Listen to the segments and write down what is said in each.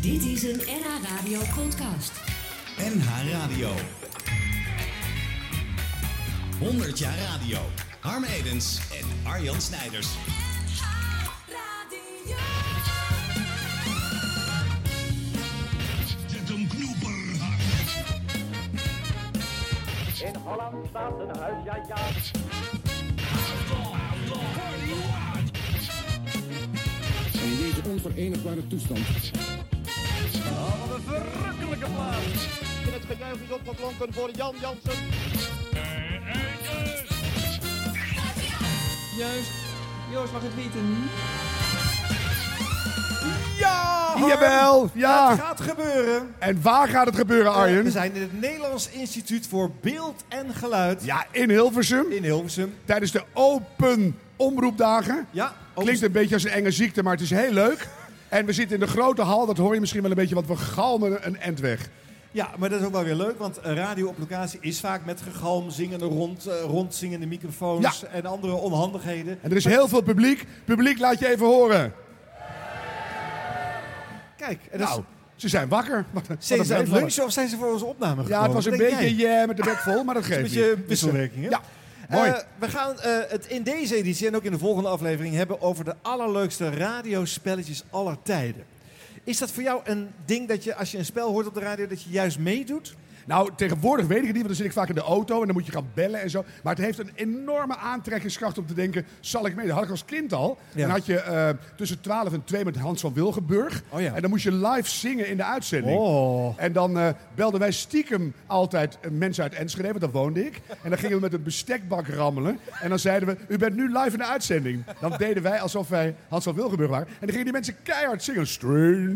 Dit is een NH Radio podcast. NH Radio. 100 jaar radio. Harm Edens en Arjan Snijders. Radio. Zit een knoeper. In Holland staat een huis, ja ja. in deze onverenigbare toestand. En het gejuich is opgeklonken voor Jan Jansen. Juist. Joost mag het weten. Ja! Harm. Jawel, ja. Het gaat gebeuren. Eh, En waar gaat het gebeuren, We Arjen? zijn in het Nederlands Instituut voor Beeld en Geluid Ja, in Hilversum. in Hilversum. Tijdens de open omroepdagen. Ja, Klinkt een beetje als een enge ziekte, maar het is heel leuk. En we zitten in de grote hal, dat hoor je misschien wel een beetje, want we galmen een end weg. ja, maar dat is ook wel weer leuk, want radio op locatie is vaak met gegalm, zingende rond, eh, rondzingende microfoons Ja. en andere onhandigheden. En er is heel veel publiek. Publiek, laat je even horen. Kijk, en dat Nou, ze zijn wakker. Wat- wat is, zijn een ze aan het meevaller. lunchen of zijn ze voor onze opname gekomen? Ja, het was een Wat denk beetje jij? yeah met de bek vol, maar dat geeft Een niet. beetje wisselwerking, hè? Ja, mooi. Eh, we gaan eh, het in deze editie en ook in de volgende aflevering hebben over de allerleukste radiospelletjes aller tijden. Is dat voor jou een ding dat je als je een spel hoort op de radio dat je juist dus meedoet? Nou, tegenwoordig weet ik het niet, want dan zit ik vaak in de auto en dan moet je gaan bellen en zo. Maar het heeft een enorme aantrekkingskracht om te denken, zal ik mee? Dat had ik als kind al. Ja. Dan had je eh, tussen 12 en 2 met Hans van Wilgenburg. Oh ja. En dan moest je live zingen in de uitzending. Oh. En dan eh, belden wij stiekem altijd eh, mensen uit Enschede, want daar woonde ik. En dan gingen we met een bestekbak rammelen. En dan zeiden we, u bent nu live in de uitzending. Dan deden wij alsof wij Hans van Wilgenburg waren. En dan gingen die mensen keihard zingen.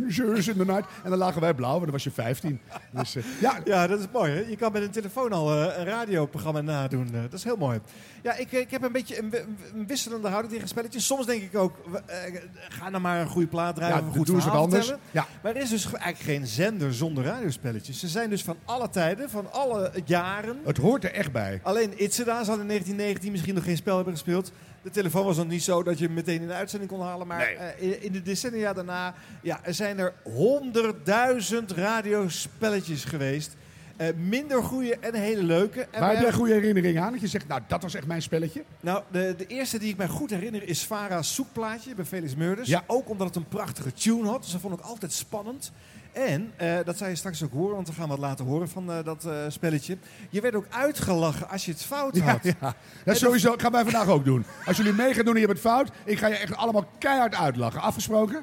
Strangers in the night. En dan lagen wij blauw, en dan was je 15. Dus eh, ja, Ja, dat is mooi. Hè? Je kan met een telefoon al eh, een radioprogramma nadoen. eh, dat is heel mooi. Ja, ik, eh, ik heb een beetje een, wi- een wisselende houding tegen spelletjes. Soms denk ik ook, we- eh, ga nou maar een goede plaat draaien Ja, of een dat goed doen ze verhaal wel anders. vertellen. Ja. Maar er is dus eigenlijk geen zender zonder radiospelletjes. Ze zijn dus van alle tijden, van alle jaren. Het hoort er echt bij. Alleen Itzeda zal in 1919 misschien nog geen spel hebben gespeeld. De telefoon was nog niet zo dat je hem meteen in de uitzending kon halen. Maar Nee. eh, in- in de decennia daarna ja, er zijn er honderdduizend radiospelletjes geweest. Eh, minder goede en hele leuke. En Waar heb wij- jij een goede herinnering aan? Dat je zegt, nou, dat was echt mijn spelletje. Nou, de, de eerste die ik mij goed herinner is Farah's zoekplaatje bij Felix Murders. Ja. Ook omdat het een prachtige tune had. Dus dat vond ik altijd spannend. En, eh, dat zou je straks ook horen, want we gaan wat laten horen van eh, dat eh, spelletje. Je werd ook uitgelachen als je het fout had. Dat is sowieso, dat gaan wij vandaag ook doen. Als jullie mee gaan doen en je hebt het fout, ik ga je echt allemaal keihard uitlachen. Afgesproken?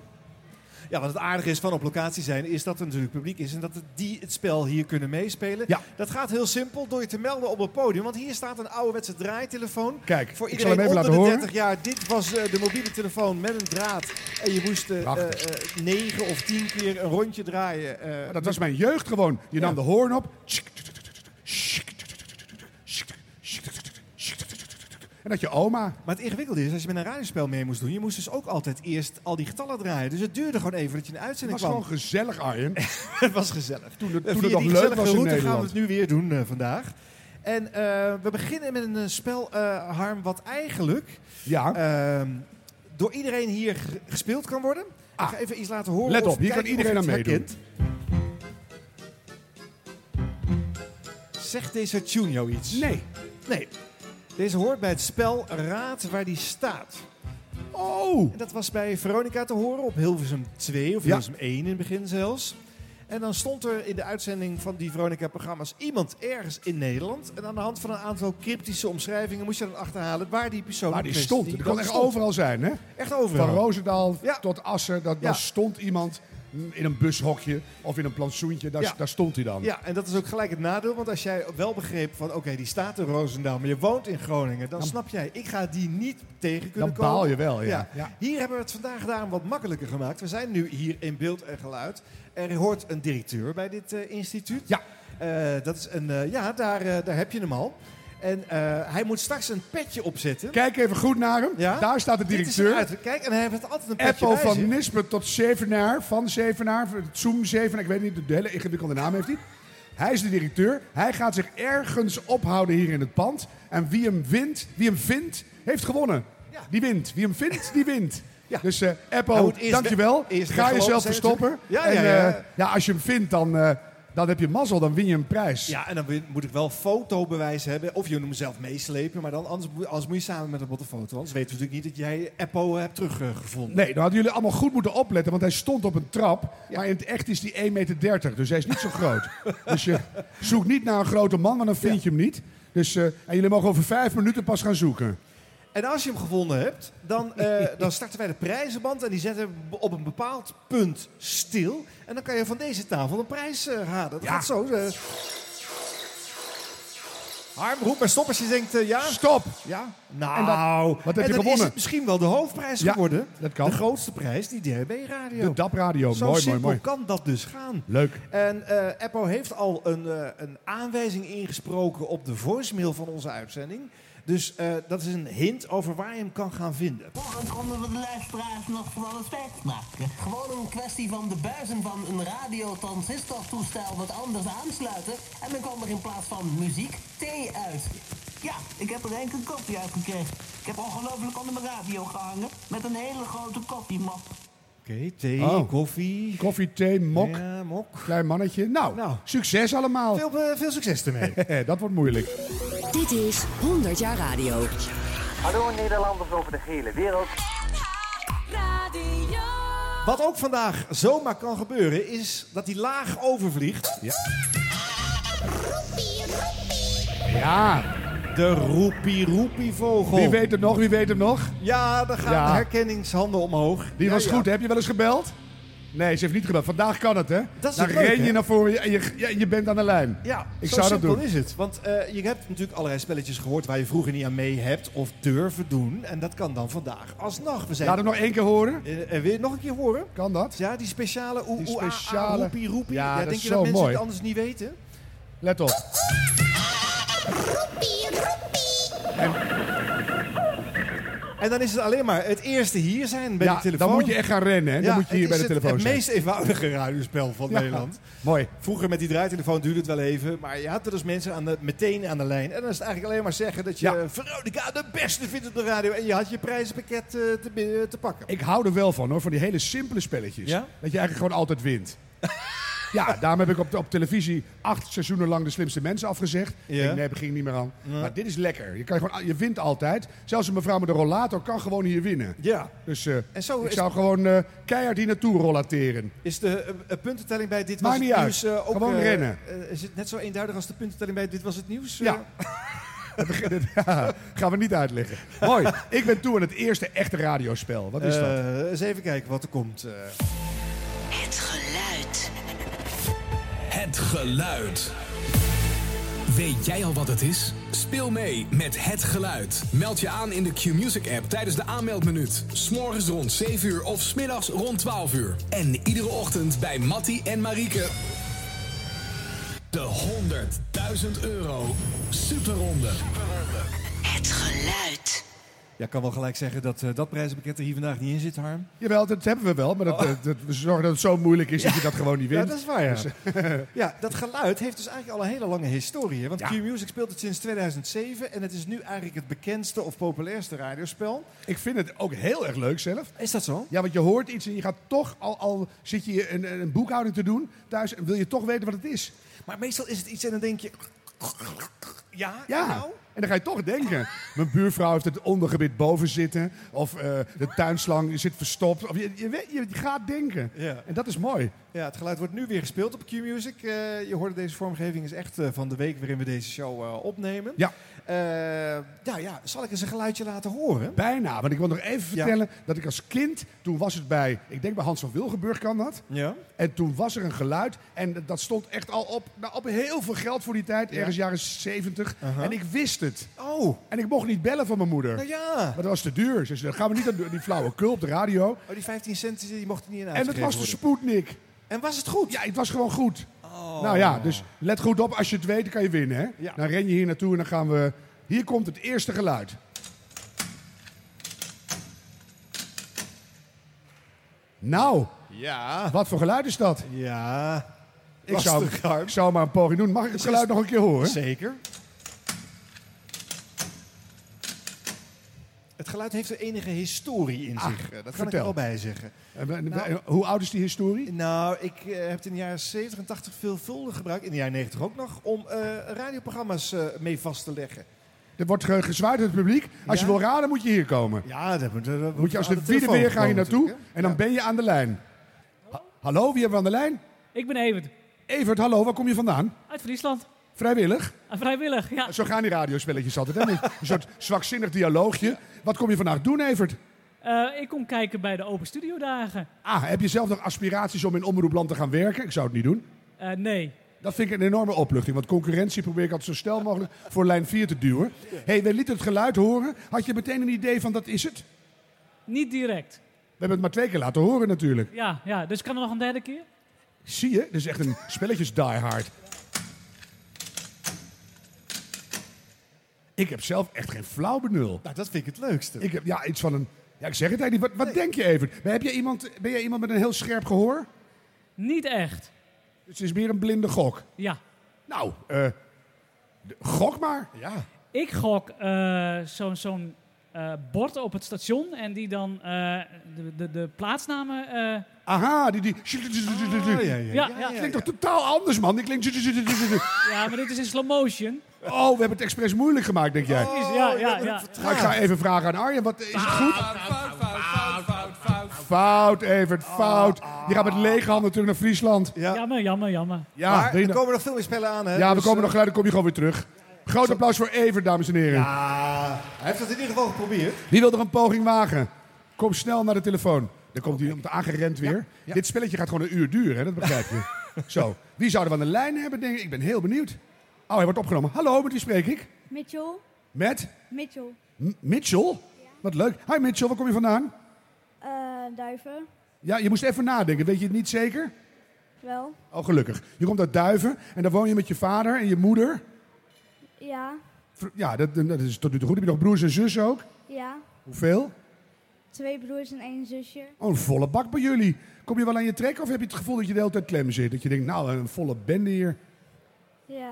Ja, wat het aardige is van op locatie zijn, is dat er natuurlijk publiek is en dat het- die het spel hier kunnen meespelen. Ja. Dat gaat heel simpel door je te melden op het podium, want hier staat een ouderwetse draaitelefoon. Kijk, voor ik zal hem iedereen even laten onder de horen. 30 jaar, dit was eh, de mobiele telefoon met een draad. En je moest eh, eh, Prachtig. eh, 9 of 10 keer een rondje draaien. eh, Dat was mijn jeugd gewoon. Je nam de hoorn op. En dat je oma. Maar het ingewikkelde is, als je met een radiospel mee moest doen, je moest dus ook altijd eerst al die getallen draaien. Dus het duurde gewoon even dat je in de Het uitzending was kwam. gewoon gezellig, Arjen. Het was gezellig. Toen het, Via toen het die nog leuk gezellige was in route gaan we Nederland. het nu weer doen eh, vandaag. En eh, we beginnen met een eh, spel, eh, Harm, wat eigenlijk Ja, ehm, door iedereen hier ge- gespeeld kan worden. Ah. Ik ga even iets laten horen. Let of op, hier kijken kan of iedereen je aan het meedoen. herkent. Zegt deze tune jou iets? nee. Nee. Deze hoort bij het spel Raad waar die staat. Oh, En dat was bij Veronica te horen op Hilversum 2 of Ja. Hilversum 1 in het begin zelfs. En dan stond er in de uitzending van die Veronica-programma's iemand ergens in Nederland. En aan de hand van een aantal cryptische omschrijvingen moest je dan achterhalen waar die persoon maar die was stond. Het kon dan echt stond. overal zijn, hè? Echt overal. Van Roosendaal Ja. tot Assen, dat, Ja. daar stond iemand mm, in een bushokje of in een plantsoentje, daar, Ja. daar stond hij dan. Ja, en dat is ook gelijk het nadeel. Want als jij wel begreep van, oké, die staat in Roosendaal, maar je woont in Groningen. Dan, snap jij, ik ga die niet tegen kunnen Dan komen. baal je wel, ja. Ja. Hier hebben we het vandaag daarom wat makkelijker gemaakt. We zijn nu hier in beeld en geluid. Er hoort een directeur bij dit eh, instituut. Ja. Eh, dat is een, eh, ja, daar, eh, daar heb je hem al. En eh, hij moet straks een petje opzetten. Kijk even goed naar hem. Ja? Daar staat de Dit is directeur. eruit. Kijk, en hij heeft altijd een petje Eppo bij zich. van Nispen tot Zevenaar, van Zevenaar, Zoom Zevenaar, ik weet niet, de hele ingewikkelde naam heeft hij. Hij is de directeur. Hij gaat zich ergens ophouden hier in het pand. En wie hem wint, wie hem vindt, heeft gewonnen. Ja. Die wint. Wie hem vindt, die wint. Ja. Nou, Dus eh Hij Eppo, moet eerst dankjewel. we- eerst Ga weggelopen jezelf zijn verstoppen. natuurlijk. Ja, en, ja, ja. eh, ja, als je hem vindt, dan, eh, dan heb je mazzel. Dan win je een prijs. Ja, en dan win- moet ik wel fotobewijs hebben. Of je moet hem zelf meeslepen. Maar dan anders, moet- anders moet je samen met hem op de foto. Anders weten we natuurlijk niet dat jij Eppo eh, hebt teruggevonden. Nee, dan hadden jullie allemaal goed moeten opletten, want hij stond op een trap. Maar in het echt is die 1,30 meter, dus hij is niet zo groot. dus je zoekt niet naar een grote man, want dan vind je hem niet. Dus, eh, en jullie mogen over vijf minuten pas gaan zoeken. En als je hem gevonden hebt, dan, eh, dan starten wij de prijzenband. En die zetten we op een bepaald punt stil. En dan kan je van deze tafel een prijs eh, halen. Dat gaat zo. eh. Harm, roep maar stop als je denkt eh, ja. Stop! Ja? Nou, En dan- wat heb je en dan is gewonnen? het misschien wel de hoofdprijs Ja, geworden. dat kan. De grootste prijs, die DHB Radio. De DAP Radio, zo mooi, mooi, simpel mooi. kan dat dus gaan. Leuk. En eh Eppo heeft al een, eh, een aanwijzing ingesproken op de voicemail van onze uitzending. Dus eh, dat is een hint over waar je hem kan gaan vinden. Dan konden we de luisteraars nog van alles maken. Gewoon een kwestie van de buizen van een radiotransistortoestel wat anders aansluiten. En dan kwam er in plaats van muziek thee uit. Ja, ik heb er enkel koffie uitgekregen. Ik heb ongelooflijk onder mijn radio gehangen met een hele grote koffiemap. Oké, thee, Oh. koffie, Koffie, thee, mok, Ja, mok. klein mannetje. Nou, Nou. succes allemaal. Veel, eh, veel succes ermee. dat wordt moeilijk. Dit is 100 jaar radio. Hallo Nederlanders over de hele wereld. Wat ook vandaag zomaar kan gebeuren, is dat hij laag overvliegt. Ja, De roepie-roepie-vogel. wie weet het nog, wie weet het nog? Ja, daar gaan Ja. de herkenningshanden omhoog. Die Ja, was ja. goed, hè? heb je wel eens gebeld? Nee, ze heeft niet gebeld. Vandaag kan het, hè? Dat is Dan het leuke, ren je hè? naar voren en je, je, je bent aan de lijn. Ja, Ik zo zou dat simpel doen. is het. Want eh, je hebt natuurlijk allerlei spelletjes gehoord waar je vroeger niet aan mee hebt of durven doen. En dat kan dan vandaag alsnog. We zijn Laat hem nog één keer horen. Eh, eh, wil je het nog een keer horen? Kan dat? Ja, die speciale oe Die oe, a, a, speciale- roepie roepie. Ja, dat denk is je zo dat mensen mooi. het anders niet weten? Let op. En dan is het alleen maar het eerste hier zijn bij ja, de telefoon. dan moet je echt gaan rennen, hè? Ja, dan moet je hier het bij is de het- telefoon Het, zijn. meest eenvoudige radiospel van Ja. Nederland. Mooi. Vroeger met die draaitelefoon duurde het wel even. Maar je had er dus mensen aan de, meteen aan de lijn. En dan is het eigenlijk alleen maar zeggen dat je Ja. Veronica de beste vindt op de radio. En je had je prijzenpakket eh, te, bi- te pakken. Ik hou er wel van, hoor, van die hele simpele spelletjes. Ja? Dat je eigenlijk gewoon altijd wint. ja, daarom heb ik op, op televisie acht seizoenen lang de slimste mensen afgezegd. Ja. Ik denk, nee, begin niet meer aan. Maar dit is lekker. Je, kan gewoon, je wint altijd. Zelfs een mevrouw met een rollator kan gewoon hier winnen. Ja. Dus eh, En zo ik is- zou gewoon eh, keihard hier naartoe rollateren. Is de eh, eh, puntentelling bij Dit Was Maakt Het niet uit. Nieuws eh, ook... Gewoon eh, rennen. eh, is het net zo eenduidig als de puntentelling bij Dit Was Het Nieuws? eh? Ja. Dat begint het- ja, gaan we niet uitleggen. Mooi. Ik ben toe aan het eerste echte radiospel. Wat is Eh, dat? eens even kijken wat er komt. eh. Het geluid. Het geluid. Weet jij al wat het is? Speel mee met Het Geluid. Meld je aan in de Q-Music app tijdens de aanmeldminuut. S'morgens rond 7 uur of smiddags rond 12 uur. En iedere ochtend bij Mattie en Marieke. De 100.000 euro superronde. Het geluid. Ja, ik kan wel gelijk zeggen dat eh, dat prijzenpakket er hier vandaag niet in zit, Harm. Jawel, dat hebben we wel. Maar dat, dat- dat- we zorgen dat het zo moeilijk is dat je dat gewoon niet wint. Dus, eh, waar, Oh. ja. ja, dat geluid heeft dus eigenlijk al een hele lange historie. hè? Want Ja. Q-Music speelt het sinds 2007 en het is nu eigenlijk het bekendste of populairste radiospel. Ik vind het ook heel erg leuk zelf. Is dat zo? Ja, want je hoort iets en je gaat toch, al, al zit je een, een boekhouding te doen thuis, en wil je toch weten wat het is. Maar meestal is het iets en dan denk je... Ja, Ja, nou? en dan ga je toch denken. Mijn buurvrouw heeft het ondergebit boven zitten. Of eh, de tuinslang zit verstopt. Of je, je, weet- je gaat denken. Ja. En dat is mooi. Ja, het geluid wordt nu weer gespeeld op Q-Music. Eh, je hoorde deze vormgeving is echt eh, van de week waarin we deze show eh, opnemen. Ja. Eh, nou ja, zal ik eens een geluidje laten horen? Bijna, want ik wil nog even Ja. vertellen dat ik als kind, toen was het bij, ik denk bij Hans van Wilgenburg kan dat. Ja. En toen was er een geluid en dat stond echt al op, nou, op heel veel geld voor die tijd, ergens jaren 70. En ik wist het. Oh, En ik mocht niet bellen van mijn moeder. nou ja. Maar dat was te duur. Ze zei, dat gaan we niet aan doen. Die flauwe kul op de radio. Oh, die 15 cent die mocht er niet in En het uitgegeven was dus de worden. Sputnik. En was het goed? Ah. Ja, het was gewoon goed. Nou ja, dus let goed op. Als je het weet, dan kan je winnen. Hè? Oh. Ja. Dan ren je hier naartoe en dan gaan we... Hier komt het eerste geluid. Nou, Ja. wat voor geluid is dat? Ja. Ik zou, Lastig, Harm. ik zou maar een poging doen. Mag ik het geluid nog een keer horen? Zeker. Het het geluid heeft er enige historie in zich. dat kan ik eh, vertel. er wel bij zeggen. En we- en we- hoe oud is die historie? Nou, ik eh, heb het in de jaren 70 en 80 veelvuldig gebruikt, in de jaren 90 ook nog, om eh, radioprogramma's eh, mee vast te leggen. Er wordt ge- gezwaaid uit het publiek. Als Ja? je wil raden, moet je hier komen. Ja, dat moet, dat moet je als aan de de wielen weer telefoon ga je komen naartoe en dan ben je aan de lijn. Ha- Hallo, wie hebben we aan de lijn? Ik ben Evert, Evert, hallo, waar kom je vandaan? uit Friesland. Vrijwillig? Ah, vrijwillig, ja. Zo gaan die radiospelletjes altijd. Hè? Een soort zwakzinnig dialoogje. Wat kom je vandaag doen, Evert? Eh, ik kom kijken bij de Open Studiodagen. Ah, heb je zelf nog aspiraties om in Omroep Land te gaan werken? Ik zou het niet doen. Eh nee. Dat vind ik een enorme opluchting, want concurrentie probeer ik altijd zo snel mogelijk voor lijn 4 te duwen. hey, we lieten het geluid horen. Had je meteen een idee van dat is het? Niet direct. We hebben het maar twee keer laten horen natuurlijk. Ja, ja, dus kan er nog een derde keer? Zie je, dit is echt een spelletjes diehard. Ik heb zelf echt geen flauw benul. Nou, dat vind ik het leukste. Ik heb ja, iets van een. Ja, ik zeg het eigenlijk niet. Wat, wat denk je even? Ben, heb jij iemand, ben jij iemand met een heel scherp gehoor? Niet echt. Dus het is meer een blinde gok. Ja. Nou, eh, de- gok maar. Ja. Ik gok eh, zo'n zo'n, eh, bord op het station en die dan eh, de, de, de plaatsnamen... eh, Aha, die. die... ja, ja, ja. Klinkt toch totaal anders, man? Die klinkt. ja, maar dit is in slow motion. Oh, we hebben het expres moeilijk gemaakt, denk Oh, jij. Precies, ja, ja, ja. Maar ik ga even vragen aan Arjen, wat is het goed? Fout, Evert, Oh, fout. Je gaat met lege handen terug naar Friesland. Jammer, jammer, jammer. Ja, maar wil je er nou- komen nog veel meer spellen aan, hè? ja, we dus, komen eh, nog gelijk, dan kom je gewoon weer terug. Groot applaus voor Evert, dames en heren. Ja, hij heeft dat in ieder geval geprobeerd. Wie wil er een poging wagen? Kom snel naar de telefoon. Dan komt hij om de aangerend weer. Dit spelletje gaat gewoon een uur duren, hè? dat begrijp je. Zo, wie zouden we aan de lijn hebben? Denk ik. ik ben heel benieuwd. Oh, hij wordt opgenomen. Hallo, met wie spreek ik? Mitchell, Met Mitchell, M- Mitchell. Wat leuk. Hi Mitchell, waar kom je vandaan? eh, duiven, Ja, je moest even nadenken. Weet je het niet zeker? wel, Oh, gelukkig. Je komt uit Duiven en daar woon je met je vader en je moeder. ja, Vr- Ja, dat, dat is tot nu toe goed. Heb je nog broers en zussen ook? ja, Hoeveel? twee broers en één zusje. Oh, een volle bak bij jullie. Kom je wel aan je trek of heb je het gevoel dat je de hele tijd klem zit? Dat je denkt, nou, een volle bende hier. Ja,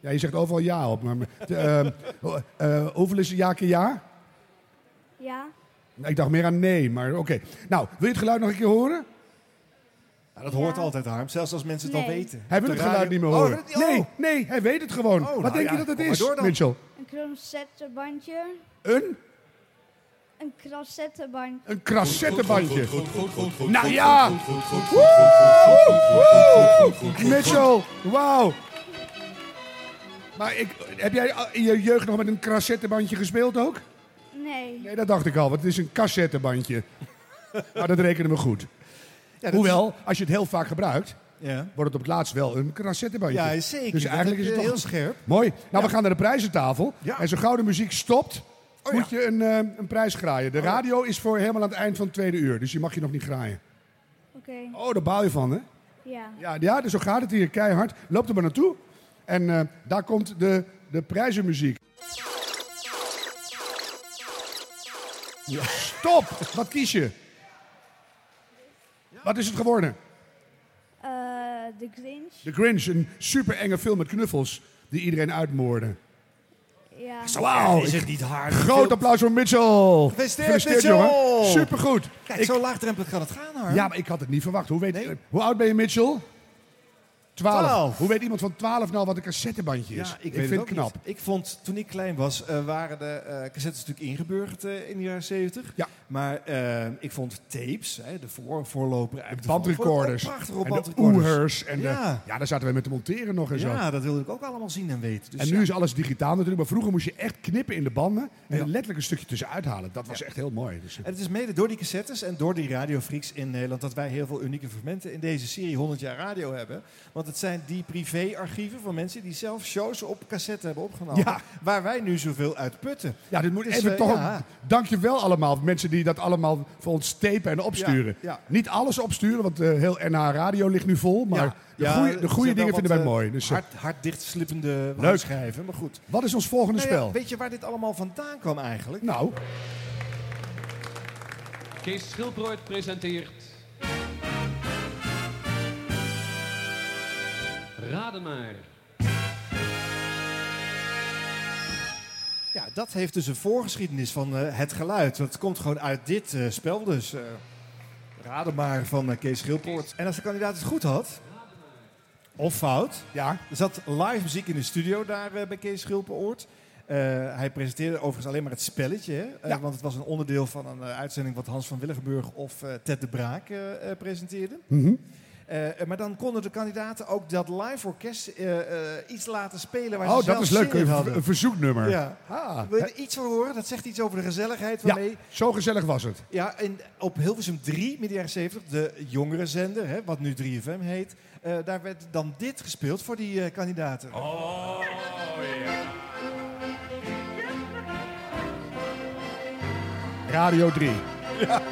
Ja, je zegt overal ja op. Maar, maar- de, ehm, ho- eh, hoeveel is ja keer ja? ja, Nou, ik dacht meer aan nee, maar oké. Nou, wil je het geluid nog een keer horen? Ja, Nou, dat hoort altijd, Harm. Zelfs als mensen het al Nee. weten. Hij wil De het geluid radio- niet meer Oh, horen. dat- oh. Nee, nee, hij weet het gewoon. Oh, Wat nou denk ja, je dat het kom maar is, door dan. Mitchell? een crossettenbandje, Een, een crossettenbandje. een crassettebandje. Nou ja! Ah! Mitchell, wauw! Maar ik, heb jij in je jeugd nog met een crassettebandje gespeeld ook? Nee, Nee, dat dacht ik al, want het is een cassettebandje. maar dat rekenen we goed. Hoewel, als je het heel vaak gebruikt, Ja. wordt het op het laatst wel een cassettebandje. Ja, zeker. Dus Dat eigenlijk is heb het je toch- heel scherp. Mooi. Nou, we gaan naar de prijzentafel. Ja. En zo gauw de muziek stopt, Oh, moet ja. Oh, je een, eh, een prijs graaien. De radio is voor helemaal aan het eind van het tweede uur, dus je mag je nog niet graaien. oké, Oh, daar baal je van, hè? ja. Ja, ja dus zo gaat het hier keihard. Loop er maar naartoe. En eh, daar komt de, de prijzenmuziek. Stop! Wat kies je? Wat is het geworden? Eh, de Grinch, The Grinch, een super enge film met knuffels die iedereen uitmoorden. ja. Wauw! Is het niet hard? Groot applaus voor Mitchell! Gefeliciteerd, jongen! Mitchell. Supergoed! Kijk, Ik- zo laagdrempelig kan het gaan, Harm. Ja, maar ik had het niet verwacht. Hoe, weet, hoe oud ben je, Mitchell? 12. Twaalf. Hoe weet iemand van 12 nou wat een cassettebandje is? Ja, ik, vind weet het ook knap. niet. Ik vond, toen ik klein was, eh, waren de eh, cassettes natuurlijk ingeburgerd eh, in de jaren 70. Ja. Maar eh, ik vond tapes, hè, de voor, voorloper... eigenlijk ervan, Bandrecorders. vond ik ook Prachtig op en de bandrecorders. oehers. En ja. Ja. De, ja, daar zaten we met te monteren nog en zo. Ja, dat wilde ik ook allemaal zien en weten. Dus en nu ja. is alles digitaal natuurlijk. Maar vroeger moest je echt knippen in de banden. En letterlijk een stukje tussenuit halen. Dat was echt heel mooi. Dus, En het is mede door die cassettes en door die radiofreaks in Nederland dat wij heel veel unieke fragmenten in deze serie 100 jaar radio hebben. Want het zijn die privéarchieven van mensen die zelf shows op cassette hebben opgenomen. Ja. Waar wij nu zoveel uit putten. ja, dit moet Dus, even eh, toch. ja. Dankjewel allemaal. Mensen die dat allemaal voor ons tapen en opsturen. Ja, ja. Niet alles opsturen, want eh, heel NH Radio ligt nu vol. Maar de goeie- de er goede zijn dingen wel vinden wat, wij eh, mooi. Dus, eh, hard, hard dichtslippende Leuk. schrijven, maar goed. wat is ons volgende Nou ja, spel? weet je waar dit allemaal vandaan kwam eigenlijk? nou, Kees Schilbrood presenteert. Raden maar. Ja, dat heeft dus een voorgeschiedenis van eh, het geluid. Dat komt gewoon uit dit eh, spel dus. eh raden maar van eh, Kees Schilpoort. En als de kandidaat het goed had, of fout. Ja. Er zat live muziek in de studio daar eh, bij Kees Schilpoort. Eh, hij presenteerde overigens alleen maar het spelletje. Hè? Eh, want het was een onderdeel van een eh, uitzending wat Hans van Willigenburg of eh, Ted de Braak eh, eh, presenteerden. Eh, maar dan konden de kandidaten ook dat live orkest eh, eh, iets laten spelen waar ze Oh, dat zelf is leuk. zin in Een, hadden. een verzoeknummer. Ja. Ah, Wil je er iets van horen? Dat zegt iets over de gezelligheid Ja, waarmee... zo gezellig was het. Ja, en op Hilversum 3, midden jaren 70, de jongere zender, hè, wat nu 3FM heet... eh, daar werd dan dit gespeeld voor die eh, kandidaten. Oh, ja. Radio 3. Ja.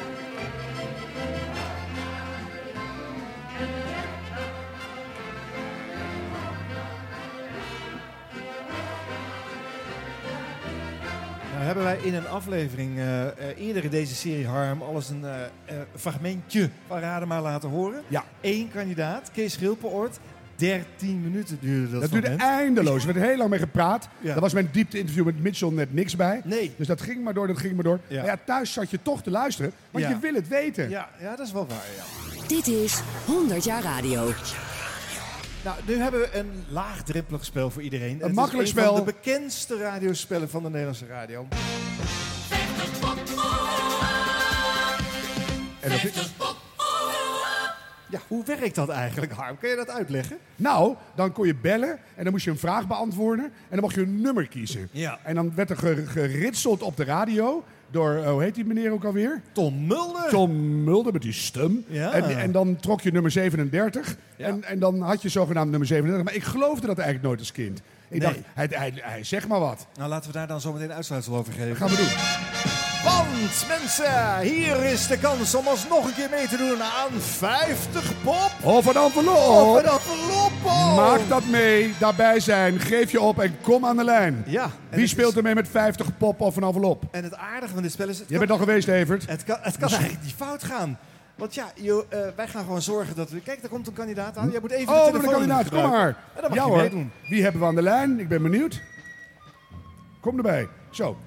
Nou hebben wij in een aflevering eh, eh, eerder in deze serie Harm alles een eh, eh, fragmentje van Raden maar laten horen. Ja. Eén kandidaat, Kees Schilpenoort. 13 minuten duurde dat. Dat duurde fragment. eindeloos. Er werd heel lang mee gepraat. Daar was mijn diepte interview met Mitchell net niks bij. Dus dat ging maar door, dat ging maar door. Maar ja, thuis zat je toch te luisteren, want Ja. je wil het weten. Ja, ja, dat is wel waar. Ja. Dit is 100 jaar radio. Nou, nu hebben we een laagdrempelig spel voor iedereen. Het is makkelijk Een spel. van de bekendste radiospellen van de Nederlandse radio. En dat is... Ja, hoe werkt dat eigenlijk, Harm? Kun je dat uitleggen? Nou, dan kon je bellen en dan moest je een vraag beantwoorden. En dan mocht je een nummer kiezen. Ja. En dan werd er ge- geritseld op de radio door, eh, hoe heet die meneer ook alweer? Tom Mulder. Tom Mulder met die stem. Ja. En, en dan trok je nummer 37. En, en dan had je zogenaamd nummer 37. Maar ik geloofde dat eigenlijk nooit als kind. Ik Nee. dacht, hij, hij, hij zegt maar wat. Nou, laten we daar dan zometeen uitsluitsel over geven. gaan we doen. Want mensen, hier is de kans om alsnog een keer mee te doen aan 50 pop. Of een envelop. Of een oh. envelop. Maak dat mee, daarbij zijn, geef je op en kom aan de lijn. Ja. Wie speelt er mee met 50 pop of een envelop? En het aardige van dit spel is... het Je kan- bent al geweest, Evert. Het kan, het kan eigenlijk niet fout gaan. Want ja, joh, eh, wij gaan gewoon zorgen dat we... Kijk, daar komt een kandidaat aan. Jij moet even oh, de met een telefoon kandidaat, kom gebruiken. maar. En dan mag ja je hoor. meedoen. Wie hebben we aan de lijn? Ik ben benieuwd. Kom erbij. Zo,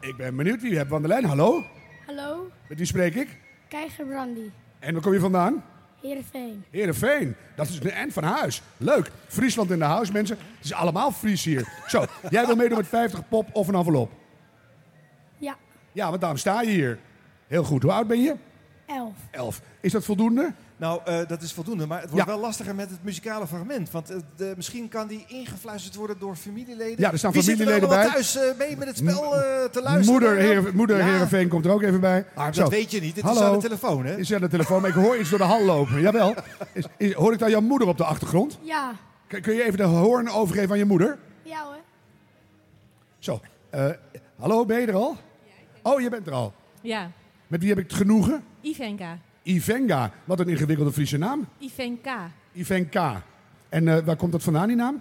ik ben benieuwd wie hebben we aan de lijn. Hallo, Hallo, met wie spreek ik? Keigerbrandi, En waar kom je vandaan? Heerenveen. Heerenveen, dat is de end van huis. Leuk. Friesland in de huis, mensen. Het is allemaal Fries hier. Zo, jij wil meedoen met 50 pop of een envelop? Ja, Ja, want daarom sta je hier. Heel goed. Hoe oud ben je? 11. Elf. Is dat voldoende? Nou, eh, dat is voldoende. Maar het wordt Ja. wel lastiger met het muzikale fragment. Want eh, de- misschien kan die ingefluisterd worden door familieleden. Ja, er staan Wie familieleden zitten er bij. allemaal thuis eh, mee met het spel eh, te luisteren? Moeder, Heer, moeder Ja. Heerenveen komt er ook even bij. Maar dat Zo. weet je niet. Het is Hallo. aan de telefoon, hè? Het is aan de telefoon, maar ik hoor iets door de hal lopen. Jawel. Is, is- hoor ik daar jouw moeder op de achtergrond? Ja, Kun- kun je even de hoorn overgeven aan je moeder? ja hoor. Zo. eh, hallo, ben je er al? Oh, je bent er al. Ja, Met wie heb ik het genoegen? Ivenka. Ivenga. Wat een ingewikkelde Friese naam. Ivenka. Ivenka. En eh, waar komt dat vandaan, die naam?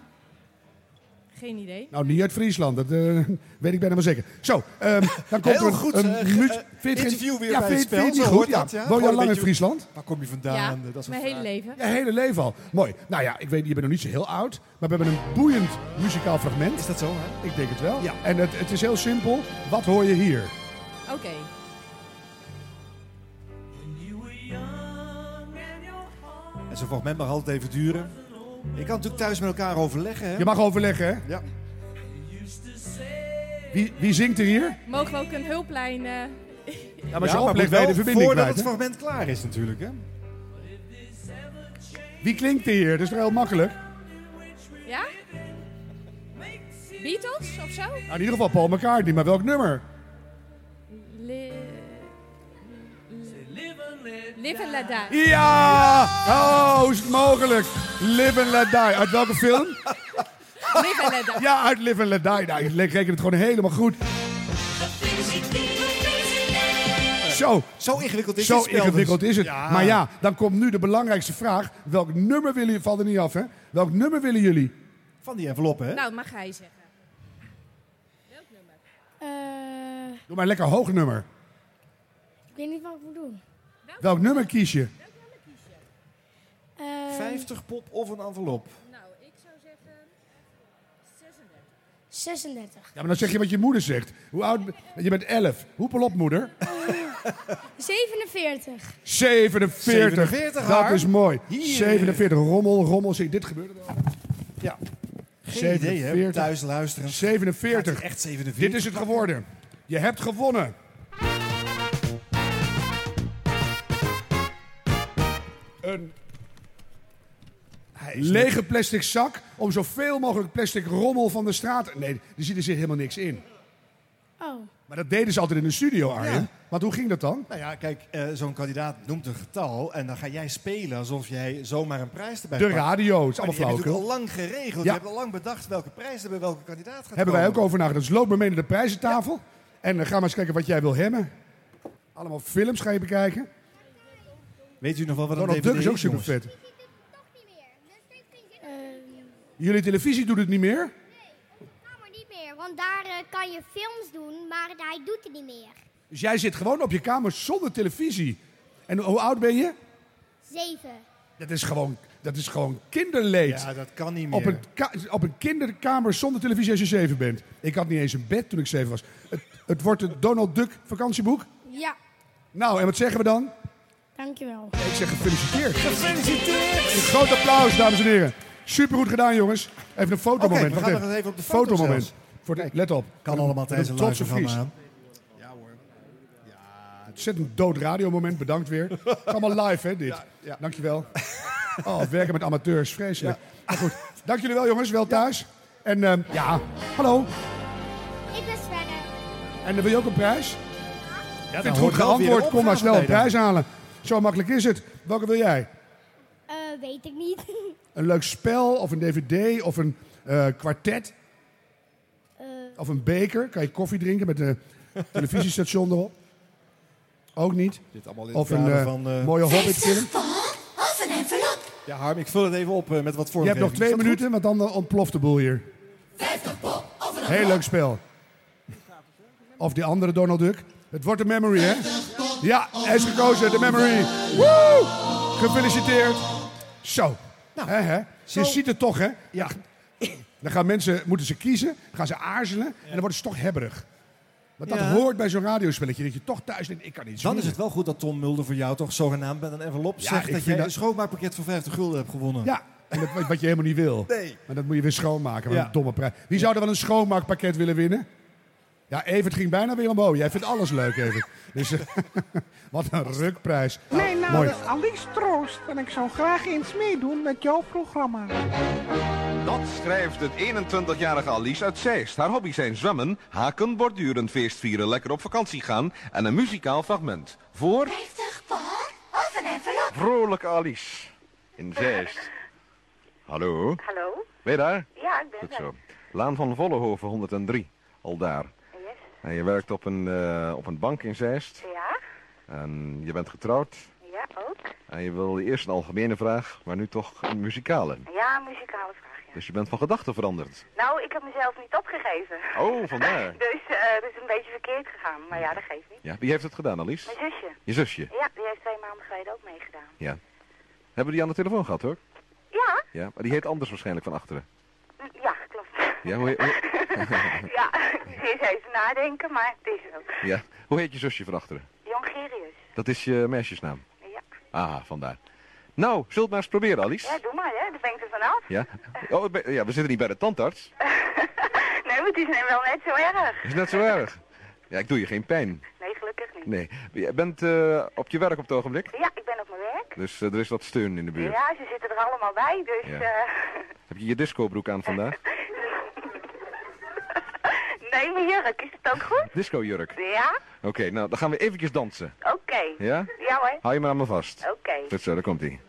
Geen idee. Nou, niet uit Friesland, dat eh, weet ik bijna wel zeker. Zo, ehm, dan komt er Heel een, goed, een eh, ge- mu- eh, vind je het geen- interview weer ja, bij vind het je- vind je spel, het zo niet goed? hoort dat, Ja. ja. Woon je Gewoon al een lang in beetje- Friesland? Waar kom je vandaan? Ja, Dat is een mijn vraag. hele leven. Je hele leven al. Mooi. Nou ja, ik weet, je bent nog niet zo heel oud, maar we hebben een boeiend muzikaal fragment. Is dat zo, hè? Ik denk het wel. En het, het is heel simpel. Wat hoor je hier? Oké. En zo'n fragment mag altijd even duren. Je kan natuurlijk thuis met elkaar overleggen, hè? Je mag overleggen, hè? Ja. Wie, wie zingt er hier? Mogen we ook een hulplijn... eh, Ja, maar je moet oplegt bij wel de verbinding voordat kwijt, het hè? fragment klaar is natuurlijk, hè? Wie klinkt er hier? Dat is toch heel makkelijk? ja? Beatles of zo? Nou, in ieder geval Paul McCartney, maar welk nummer? Le- Live and let die. Ja! Oh, hoe is het mogelijk? Live and Let Die. Uit welke film? Live and let die. Ja, uit Live and Let Die. Nou, ik reken het gewoon helemaal goed. Zo. Zo ingewikkeld is Zo het spel dus. ingewikkeld is het. Ja. Maar ja, dan komt nu de belangrijkste vraag. Welk nummer willen jullie... Valt er niet af, hè? Welk nummer willen jullie? Van die envelop, hè? Nou, mag hij zeggen. Eh, Doe maar een lekker hoog nummer. ik weet niet wat ik moet doen. Welk nummer kies je? Eh, 50 pop of een envelop? Nou, ik zou zeggen... 36. 36. Ja, maar dan zeg je wat je moeder zegt. Hoe oud... ben- Je bent 11. Hoepel op, moeder. 47. 47. 47 dat haar. is mooi. Hier. 47. Rommel, rommel. Zie, dit gebeurde er al. Ja. Geen idee, hè? Thuis luisteren. 47. echt 47. Dit is het geworden. Je hebt gewonnen. Een lege plastic zak om zoveel mogelijk plastic rommel van de straat... Nee, er zit er zit helemaal niks in. Oh. Maar dat deden ze altijd in de studio, Arjen. Ja. Want hoe ging dat dan? Nou ja, kijk, eh, zo'n kandidaat noemt een getal en dan ga jij spelen alsof jij zomaar een prijs erbij De pakt. radio, het is Maar die allemaal hebben natuurlijk al flauwekul. lang geregeld. Ja. Je hebt al lang bedacht welke prijs er bij welke kandidaat gaat Hebben wij ook komen. over nagedacht. Dus loop maar mee naar de prijzentafel. En eh, ga maar eens kijken wat jij wil hebben. Allemaal films ga je bekijken. Weet u nog wel wat Donald een Duck DVD is ook super jongens? vet. Jullie televisie doet het niet meer? maar niet meer, want daar eh, kan je films doen, maar hij doet het niet meer. Dus jij zit gewoon op je kamer zonder televisie. En hoe oud ben je? Zeven. Dat is gewoon, dat is gewoon kinderleed. Ja, dat kan niet meer. Op een, ka- op een kinderkamer zonder televisie als je zeven bent. Ik had niet eens een bed toen ik zeven was. Het, het wordt het Donald Duck vakantieboek. Ja, Nou, en wat zeggen we dan? dankjewel. Ik zeg gefeliciteerd. Gefeliciteerd! Een groot applaus, dames en heren. Super goed gedaan, jongens. Even een fotomoment. Oké, we gaan Wacht nog even op de foto fotomoment. zelfs. Voor de, let op. Kan allemaal tijdens een live trotse programma. Fries. aan. Ontzettend dood radiomoment, bedankt weer. Het is allemaal live, hè, dit. Dankjewel. Oh, werken met amateurs, vreselijk. Maar goed, dank jullie wel, jongens. Wel thuis. En ehm, ja, hallo. Ik ben Sverre. En dan wil je ook een prijs? Ja, Vind het goed geantwoord, kom maar snel een prijs halen. Zo makkelijk is het. Welke wil jij? Eh, weet ik niet. Een leuk spel, of een dvd, of een eh, kwartet, Eh, of een beker. Kan je koffie drinken met een televisiestation erop? Ook niet. Dit allemaal in het of een kader eh, van, eh, mooie hobbitfilm. Ja, Harm, ik vul het even op eh, met wat voor. Je hebt nog twee minuten, want dan eh, ontploft de boel hier. Heel leuk spel. Of die andere Donald Duck. Het wordt de memory, hè? Ja, hij is gekozen, de memory. Woe! Gefeliciteerd. Zo. Hè, hè? Nou, zo. Je ziet het toch, hè? Ja. Dan gaan mensen, moeten ze kiezen, gaan ze aarzelen en dan worden ze toch hebberig. Want dat Ja. hoort bij zo'n radiospelletje, dat je toch thuis denkt, ik kan iets Dan is winnen. het wel goed dat Tom Mulder voor jou toch zogenaamd met een envelop Ja, ik zegt dat vind je dat- een schoonmaakpakket van 50 gulden hebt gewonnen. Ja, en dat, wat- wat je helemaal niet wil. Nee. Maar dat moet je weer schoonmaken. Wat Ja. een domme prijs. Wie zou er wel een schoonmaakpakket willen winnen? Ja, Evert ging bijna weer omhoog. Jij vindt alles leuk, Evert. Dus, eh, wat een rukprijs. Mijn nou, naam Mooi. is Alice Troost en ik zou graag eens meedoen met jouw programma. Dat schrijft het 21-jarige Alice uit Zeist. Haar hobby's zijn zwemmen, haken, borduren, feestvieren, lekker op vakantie gaan en een muzikaal fragment. Voor... 50 Vrolijke Alice. In Zeist. Hallo? Hallo? Ben je daar? Ja, ik ben Goed er. zo. Laan van Vollenhoven 103. Al daar. Yes. En je werkt op een, eh, op een bank in Zeist. Ja? En je bent getrouwd. Ja, ook. En je wil eerst een algemene vraag, maar nu toch een muzikale. Ja, muzikale vraag. Dus je bent van gedachten veranderd. Nou, ik heb mezelf niet opgegeven. Oh, vandaar. Dus eh, het is een beetje verkeerd gegaan, maar ja, dat geeft niet. Ja, wie heeft het gedaan, Alice? Mijn zusje. Je zusje? Ja, die heeft twee maanden geleden ook meegedaan. Ja. Hebben we die aan de telefoon gehad hoor? Ja? Ja, maar die heet anders waarschijnlijk van achteren. Hm, Ja, klopt. Ja, hoe, hoe, ja, ik zit even nadenken, maar het is ook. ja. hoe heet je zusje van achteren? Jongerius. Dat is je meisjesnaam. Ja. Ah, vandaar. Nou, zult het maar eens proberen, Ja, Alice. doe maar, hè. Dan ben ik er vanaf. Ja? Oh, ik ben- ja, we zitten niet bij de tandarts. Nee, maar het is wel net zo erg. Dat is net zo erg. Ja, ik doe je geen pijn. Nee, gelukkig niet. Nee. Je bent eh, op je werk op het ogenblik, Ja, ik ben op mijn werk. dus eh, er is wat steun in de buurt. Ja, ze zitten er allemaal bij, dus... Ja. eh, Heb je je discobroek aan vandaag? nee, mijn jurk, is het ook goed? Discojurk. Ja? Oké, nou, dan gaan we eventjes dansen. Oké. Ja? Ja hoor. Hou je maar aan me vast. Oké. Goed zo, daar komt ie.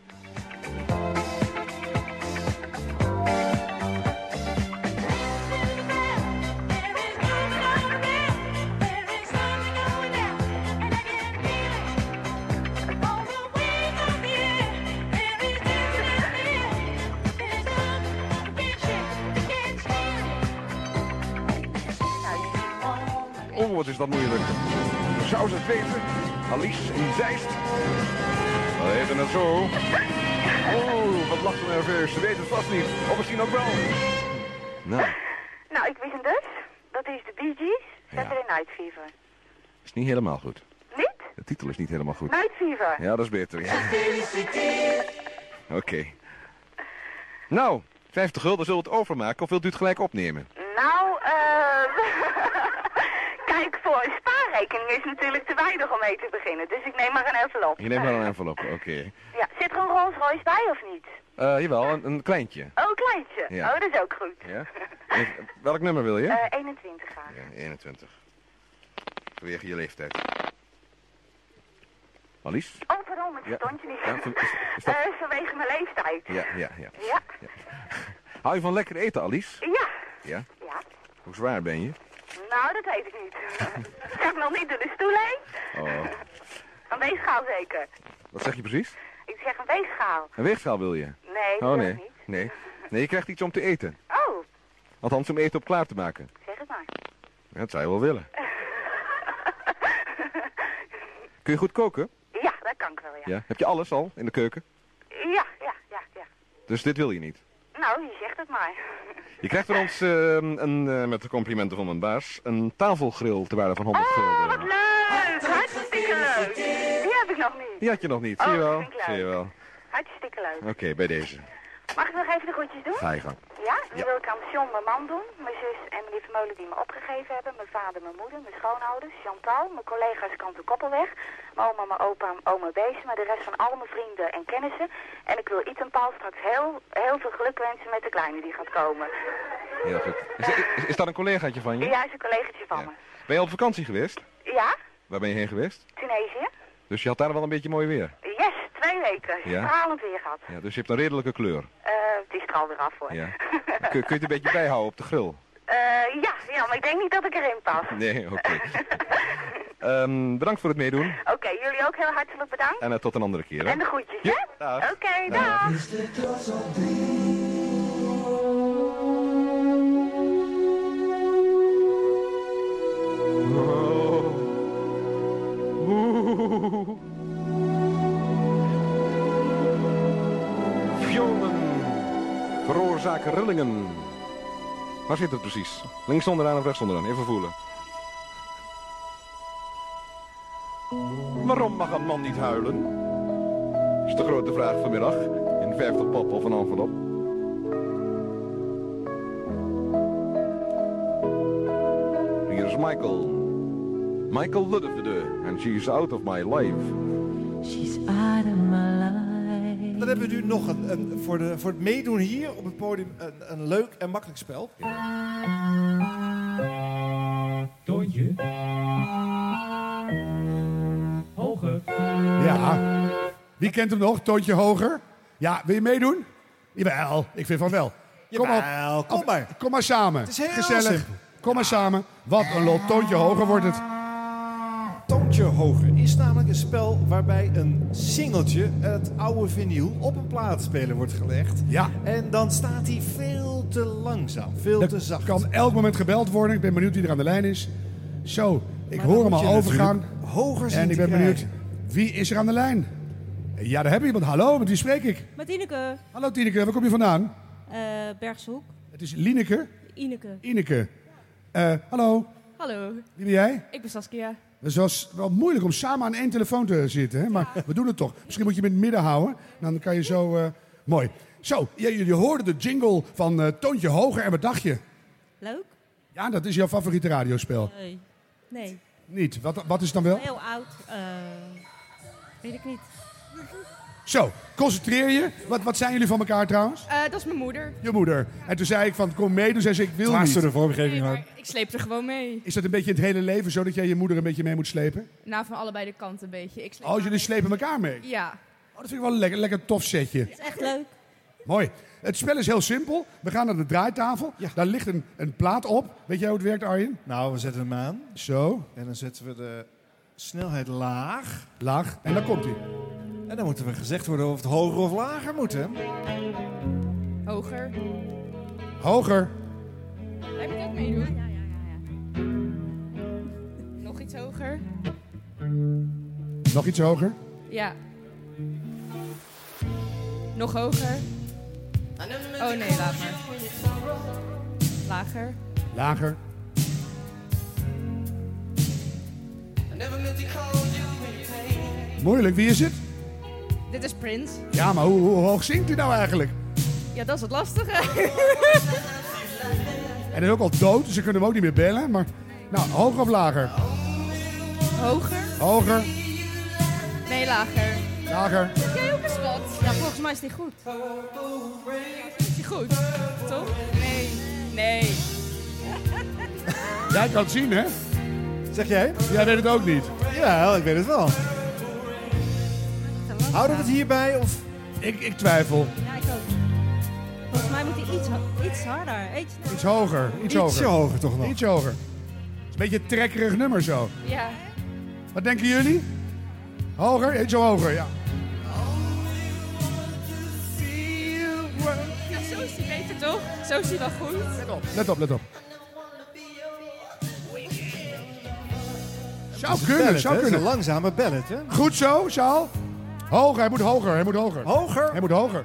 Oh, wat is dat moeilijk. Zou ze het weten? Alice in Zeist. We weten het zo. Oh, wat lacht ze nerveus. Ze weet het vast niet. Of misschien ook wel. Nou, Nou, ik wist hem dus. Dat is de Bee Gees, Saturday Night Fever. Is niet helemaal goed. Niet? De titel is niet helemaal goed. Night Fever. Ja, dat is beter. ja. Oké. Nou, 50 gulden zullen we het overmaken of wilt u het gelijk opnemen? Nou, eh... Kijk, voor een spaarrekening is natuurlijk te weinig om mee te beginnen. Dus ik neem maar een envelop. Je neemt maar een envelop, oké. Ja, zit er een Rolls Royce bij of niet? Eh, jawel, een, een kleintje. Oh, kleintje. Ja. Oh, dat is ook goed. Ja? Even- welk nummer wil je? Eh, 21 graag. Ja, 21. Vanwege je leeftijd. Alice? Oh, pardon, het Ja. stond je niet. Ja, van- is- is dat- Eh, vanwege mijn leeftijd. Ja, ja, ja. Ja. Hou je van lekker eten, Alice? Ja. Ja. Ja. Hoe zwaar ben je? Nou, dat weet ik niet. Ga ik nog niet door de stoel heen? Oh, Een weegschaal zeker. wat zeg je precies? Ik zeg een weegschaal. Een weegschaal wil je? Nee, oh, dat wil nee. ik niet. Nee. Nee, je krijgt iets om te eten. Oh, Althans, om eten op klaar te maken. zeg het maar. Ja, Dat zou je wel willen. Kun je goed koken? Ja, dat kan ik wel, ja. Ja. Heb je alles al in de keuken? Ja, ja, ja, ja. Dus dit wil je niet. Nou, je zegt het maar. Je krijgt van ons, eh, een, eh, met de complimenten van mijn baas, een tafelgril te waarde van 100 gulden. Oh, Ah, Wat leuk! Hartstikke leuk! Die heb ik nog niet. Die had je nog niet, Oh, zie je dat wel? vind ik leuk. Zie je wel. Hartstikke leuk. Oké, bij deze. Mag ik nog even de groetjes doen? Ga je gang. Ja, nu Ja. wil ik aan John, mijn man doen, mijn zus en meneer Vermeulen die me opgegeven hebben, mijn vader, mijn moeder, mijn schoonouders, Chantal, mijn collega's Kant de Koppelweg, mijn oma, mijn opa, mijn oma Bees, maar de rest van al mijn vrienden en kennissen. En ik wil Iet en Paul straks heel, heel veel geluk wensen met de kleine die gaat komen. Heel goed. Is, is, is dat een collegaatje van je? Ja, is een collegaatje van me. Ben je al op vakantie geweest? Ja, Waar ben je heen geweest? Tunesië? Dus je had daar wel een beetje mooi weer. Yes, twee weken. Ja. Stralend weer gehad. Ja, dus je hebt een redelijke kleur. Eh, het is er alweer af hoor. Ja. Kun, kun je het een beetje bijhouden op de grill? Eh, ja, ja, maar ik denk niet dat ik erin pas. Nee, oké. Ehm, bedankt voor het meedoen. Oké, jullie ook heel hartelijk bedankt. En eh, tot een andere keer. Hè? En de groetjes, hè? Oké, dag. Violen veroorzaken rillingen. Waar zit het precies? Links onderaan of rechts onderaan? Even voelen. Waarom mag een man niet huilen? Dat is de grote vraag vanmiddag. In 50 pop of een envelop. Hier is Michael. Michael Luddevede. And she's out of my life. Dan hebben we nu nog een, een- voor, de, voor het meedoen hier op het podium een, een leuk en makkelijk spel. Toontje. Hoger. Ja. Wie kent hem nog? Toontje Hoger? Ja, wil je meedoen? Jawel, ik vind van wel. Kom Jawel, op. Kom maar. Kom maar samen. Het is heel Gezellig. simpel. Kom maar samen. Wat een lot. Toontje Hoger wordt het. Toontje Hoger is namelijk een spel waarbij een singeltje, het oude vinyl, op een plaatspeler wordt gelegd. Ja. En dan staat hij veel te langzaam, veel te zacht. Kan elk moment gebeld worden. Ik ben benieuwd wie er aan de lijn is. Zo, ik Maar dan hoor hem moet al je overgaan. natuurlijk hoger zien En ik te ben benieuwd, krijgen. wie is er aan de lijn? Ja, daar heb je iemand. Hallo, met wie spreek ik? Met Ineke, Hallo Tineke, waar kom je vandaan? eh Bergshoek. Het is Lineke. Ineke. Ineke. Eh, hallo, Hallo. wie ben jij? Ik ben Saskia. Het was wel moeilijk om samen aan één telefoon te zitten, hè? maar we doen het toch. Misschien moet je hem in het midden houden, dan kan je zo... eh, mooi. Zo, j- jullie hoorden de jingle van eh, Toontje Hoger en wat dacht je? Leuk? Ja, dat is jouw favoriete radiospel. Nee. Nee. Niet, wat, wat is Oh. het dan wel? Heel oud. eh, weet ik niet. Zo, concentreer je. Wat, wat zijn jullie van elkaar trouwens? Eh, dat is mijn moeder. Je moeder. En toen zei ik van, kom mee. Toen zei ze, ik wil niet. Dwars door de vormgeving Ik sleep er gewoon mee. Is dat een beetje het hele leven zo dat jij je moeder een beetje mee moet slepen? Nou, van allebei de kanten een beetje. Ik sleep Oh, jullie slepen elkaar mee. Ja. Oh, dat vind ik wel een lekker, lekker tof setje. is echt leuk. Mooi. Het spel is heel simpel. We gaan naar de draaitafel. Daar ligt een, een plaat op. Weet jij hoe het werkt, Arjen? Nou, we zetten hem aan. Zo. En dan zetten we de snelheid laag. Laag. En dan komt hij. En dan moeten we gezegd worden of het hoger of lager moet, hè? Hoger. Hoger. Jij moet ook meedoen. Ja, ja, ja, Nog iets hoger. Nog iets hoger. Ja. Nog hoger. Oh nee, laat maar. Lager. Lager. Moeilijk, wie is het? Dit is Prince. Ja, maar hoe, hoe hoog zingt hij nou eigenlijk? Ja, dat is het lastige. En hij is ook al dood, dus ze kunnen hem ook niet meer bellen. Maar, nou, hoger of lager? Hoger? Hoger, Nee, lager. lager. Jij ook eens wat? Ja, volgens mij is die goed. Is die goed? Toch? Nee. Nee. Jij kan het zien, hè? Zeg jij? Jij weet het ook niet. Ja, ik weet het wel. Oh. Houden we het hierbij of... Ik, ik twijfel. Ja, ik ook. Volgens mij moet hij iets, ho- iets harder. Eet je Iets hoger. Iets Ietsje hoger. hoger toch nog. Iets hoger. Het is een beetje een trekkerig nummer zo. Ja. Wat denken jullie? Hoger? Iets hoger, ja. Ja, zo is die beter toch? Zo is die wel goed. Let op. Let op, let op. Zou kunnen, zou kunnen. langzame ballet, hè? Goed zo, Sjaal. Hoger, hij moet hoger, hij moet hoger. Hoger? Hij moet hoger.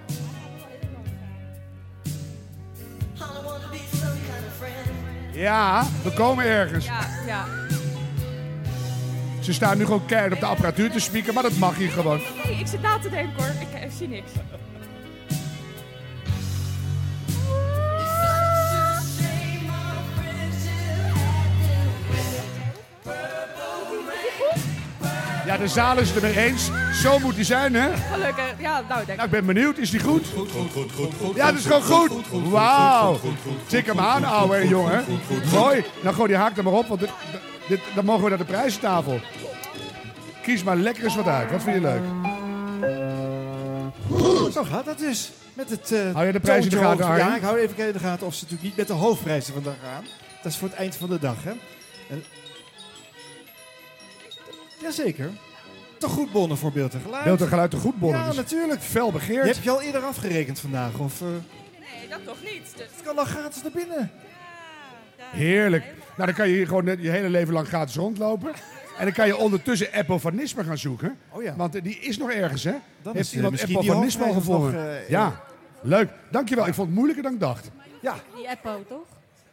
Ja, we komen ergens. Ja, ja. Ze staan nu gewoon keihard op de apparatuur te spieken, maar dat mag hier gewoon. Nee, ik zit na te denken hoor. Ik, ik zie niks. Ja, de zaal is het ermee eens. Zo moet die zijn, hè? Gelukkig. Ja, nou denk Nou, ik. ik ben benieuwd. Is die goed? Goed, goed, goed, goed, goed. Ja, dat is gewoon goed. Wauw. Tik hem aan, ouwe en jongen. Mooi. Nou, gooi die haak er maar op, want dit, dit, dan mogen we naar de prijzentafel. Kies maar lekker eens wat uit. Wat vind je leuk? Zo gaat dat dus. Met het, eh, Hou je de prijs in de toontje gaten, hoog. Ja, Arjen? ik hou even in de gaten of ze natuurlijk niet met de hoofdprijzen vandaag gaan. Dat is voor het eind van de dag, hè? En... Jazeker. Te goed bonnen voor beeld en geluid. Beeld en geluid te goed bonnen, Ja, dus natuurlijk. Fel begeerd. heb je al eerder afgerekend vandaag? Of, eh, Nee, dat toch niet. Dus... Het kan dan gratis naar binnen. Heerlijk. Nou, dan kan je hier gewoon net je hele leven lang gratis rondlopen. En dan kan je ondertussen epofanisme gaan zoeken. Oh ja. Want eh, die is nog ergens, hè? Dan Heeft is, eh, iemand misschien die epofanisme al hoofdprijs gevonden? nog, eh, ja. Leuk. Dankjewel. Ik vond het moeilijker dan ik dacht. Ja. Die Eppo, toch?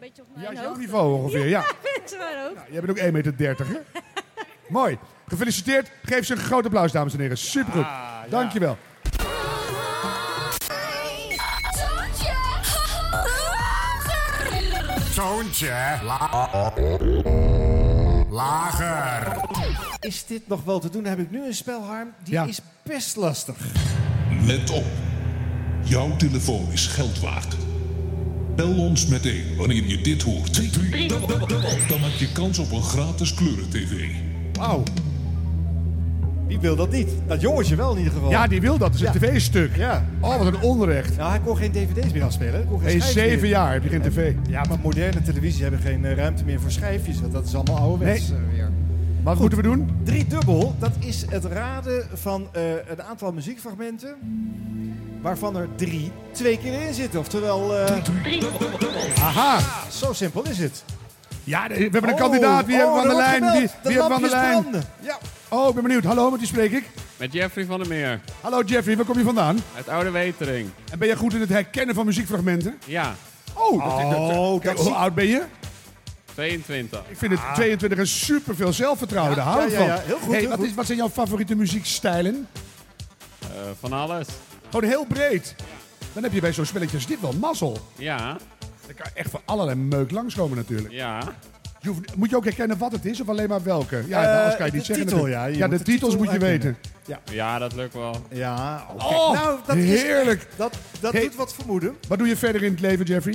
Beetje op mijn Ja, jouw hoogte. niveau ongeveer, ja. Ze waren ook. Nou, Jij bent ook 1,30 meter, hè? Mooi. Gefeliciteerd. Geef ze een groot applaus, dames en heren. Supergoed. Dankjewel. Zoontje. Lager. Is dit nog wel te doen? Dan heb ik nu een spel, Harm. Die is best lastig. Let op. Jouw telefoon is geld waard. Bel ons meteen wanneer je dit hoort. Dan maak je kans op een gratis kleuren-tv. Wauw. Wie wil dat niet? Dat jongetje wel in ieder geval. Ja, die wil dat. Dat is een tv-stuk. Ja. Oh, wat een onrecht. Nou, hij kon geen dvd's meer afspelen. Hij kon geen In schijf zeven meer. jaar heb je geen tv. Ja, maar moderne televisie hebben geen eh, ruimte meer voor schijfjes. Want dat is allemaal ouderwets Nee. eh, weer. Wat moeten we doen? Drie dubbel, dat is het raden van eh, een aantal muziekfragmenten. Waarvan er drie twee keer in zitten. Oftewel... eh, Aha. Zo simpel is het. Ja, de- we hebben Oh. een kandidaat. Wie hebben we aan de lijn? Wie, wie hebben we aan de lijn? Ja. Oh, ik ben benieuwd. Hallo, met wie spreek ik? Met Jeffrey van der Meer, Hallo Jeffrey, waar kom je vandaan? uit Oude Wetering. En ben jij goed in het herkennen van muziekfragmenten? Ja, Oh, dat- dat- dat- Oh, kijk, dat hoe zie- Ah. oud ben je? 22. Ik vind het 22 en superveel zelfvertrouwen. Ja, Daar hou ik ja, van. ja, ja. Heel goed, Hey, heel wat, goed. Is, wat zijn jouw favoriete muziekstijlen? Eh, van alles. Gewoon heel breed. Dan heb je bij zo'n spelletje als dit wel mazzel. Ja, Er kan echt van allerlei meuk langskomen natuurlijk. ja. Je hoeft- moet je ook herkennen wat het is of alleen maar welke? Ja, Eh, nou, anders kan je de niet zeggen. titel, natuurlijk. ja. Je ja, moet de, de titels titel moet je herkennen. weten. Ja, dat lukt wel. Ja. Oh, kijk, Oh, nou, dat heerlijk. Is, dat dat Hey. doet wat vermoeden. Wat doe je verder in het leven, Jeffrey?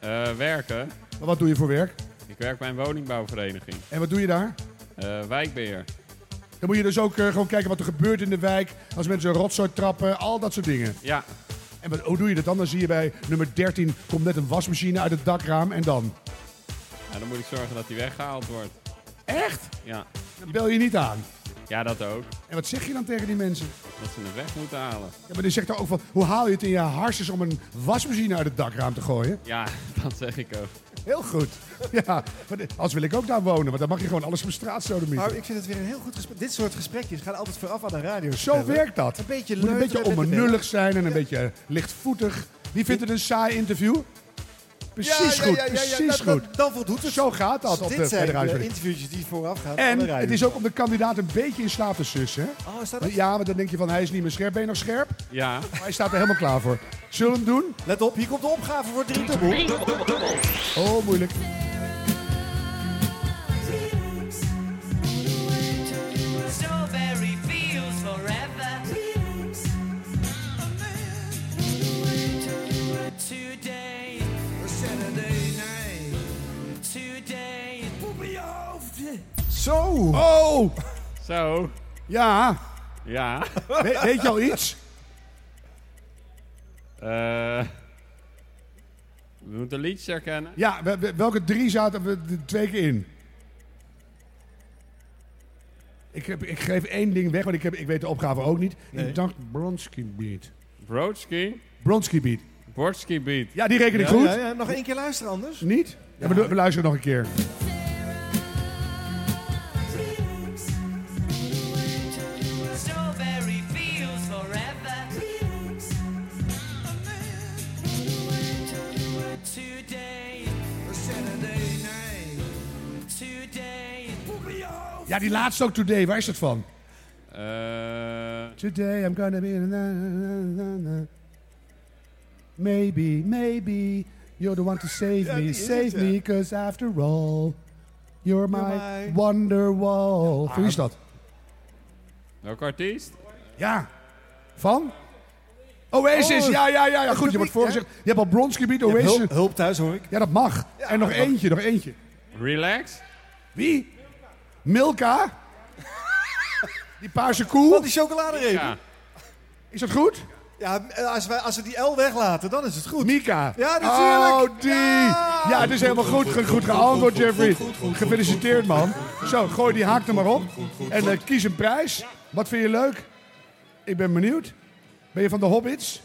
Eh, werken. Wat doe je voor werk? Ik werk bij een woningbouwvereniging. En wat doe je daar? Eh, wijkbeheer. Dan moet je dus ook eh, gewoon kijken wat er gebeurt in de wijk. Als mensen rotzooi trappen, al dat soort dingen. Ja, En wat, hoe doe je dat dan? Dan zie je bij nummer 13 komt net een wasmachine uit het dakraam en dan. en Nou, dan moet ik zorgen dat die weggehaald wordt. Echt? Ja, Dan bel je niet aan. ja dat ook. En wat zeg je dan tegen die mensen? Dat ze het weg moeten halen. Ja, maar die zegt dan ook van, hoe haal je het in je harses om een wasmachine uit het dakraam te gooien? Ja, dat zeg ik ook. Heel goed. Ja, maar de- als wil ik ook daar wonen, want dan mag je gewoon alles van straat zo Maar Nou, ik vind het weer een heel goed gesprek. Dit soort gesprekjes gaan altijd vooraf aan een radio. Zo werkt dat. Een beetje Moet een beetje leuteren met de onbenullig zijn en een beetje lichtvoetig. Wie vindt het een saai interview? Precies Ja, ja, goed, ja, ja, ja, precies dat- dat- goed. dan voldoet het. Zo gaat dat op Dit de zijn Federale Huiswerk. interviewtjes die vooraf gaan. aan de En radio. het is ook om de kandidaat een beetje in slaap te sussen. hè? Oh, is dat het? Ja, want dan denk je van hij is niet meer scherp. Ben je nog scherp? Ja. Maar hij staat er helemaal klaar voor. Zullen we hem doen? Let op, hier komt de opgave voor drie dubbel. Oh, moeilijk. Strawberry fields forever. Today. Saturday night. Today. Op je hoofd. Zo. Oh. Zo. Ja. Ja. We- weet je al iets? Eh, we moeten liedjes herkennen. Ja, we- we- welke drie zaten we de twee keer in? Ik, heb, ik geef één ding weg, want ik, heb, ik weet de opgave ook niet. Nee. Ik dacht Bronski Beat. Brodsky. Bronski Beat. Brodsky Beat. Ja, die reken ik goed. Ja, ja, nog één keer luisteren anders. Niet? Ja, we, lu- we luisteren nog een keer. Strawberry fields forever. Today. Saturday night. Today. Op je hoofd. Ja, die laatste ook Today. Waar is dat van? Eh, Today I'm gonna be... na, na, na, na. Maybe, maybe you're the one to save Ja, die me. is Save het, ja. me, cause after all, you're my, my- Ah, wonderwall. Wie is dat? welke artiest? Ja. Van? Oasis, Oh, ja, ja, ja, ja. Goed, je het wordt publiek, voorgezegd. Je hebt al bronsgebied, hebt Oasis. hulp- thuis, hoor ik. Ja, dat mag. en nog eentje, nog eentje. Relax. Wie? Milka? die paarse koe? Wat die chocoladereep. Ja. Is dat goed? Ja, eh, als, wij, als we die L weglaten, dan is het goed. Mika. Ja, natuurlijk. Oh, die. Ja, het is helemaal goed, goed, goed geantwoord, Jeffrey. Gefeliciteerd, man. Zo, gooi die haak er maar op. En eh, kies een prijs. Wat vind je leuk? Ik ben benieuwd. Ben je van de Hobbits?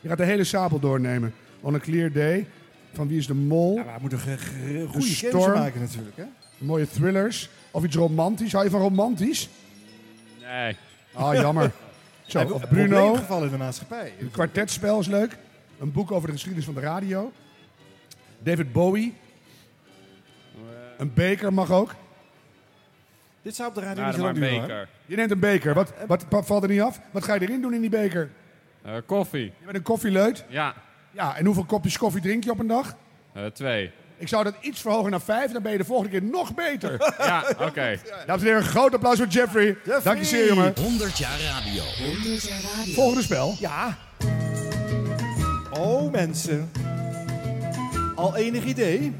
Je gaat de hele sabel doornemen. On a clear day. Van wie is de mol? Ja, we moeten een Goede games maken natuurlijk, hè? Mooie thrillers. Of iets romantisch. Hou je van romantisch? Nee. Ah, jammer. Zo, Hebben we of een Bruno. probleemgeval in de maatschappij. Een kwartetspel is leuk. Een boek over de geschiedenis van de radio. David Bowie. Een beker mag ook. Dit zou op de radio Nou, niet zo dan lang maar duren, een hoor. beker. Je neemt een beker. Wat, wat pa- valt er niet af? Wat ga je erin doen in die beker? Eh, koffie. Je bent een koffieleut. Ja. Ja, en hoeveel kopjes koffie drink je op een dag? Eh, twee. Ik zou dat iets verhogen naar vijf. Dan ben je de volgende keer nog beter. Ja, oké. Dames en heren, een groot applaus voor Jeffrey. Dank je zeer, jongen. 100 jaar radio. 100 jaar radio. Volgende spel. Ja. Oh, mensen. Al enig idee?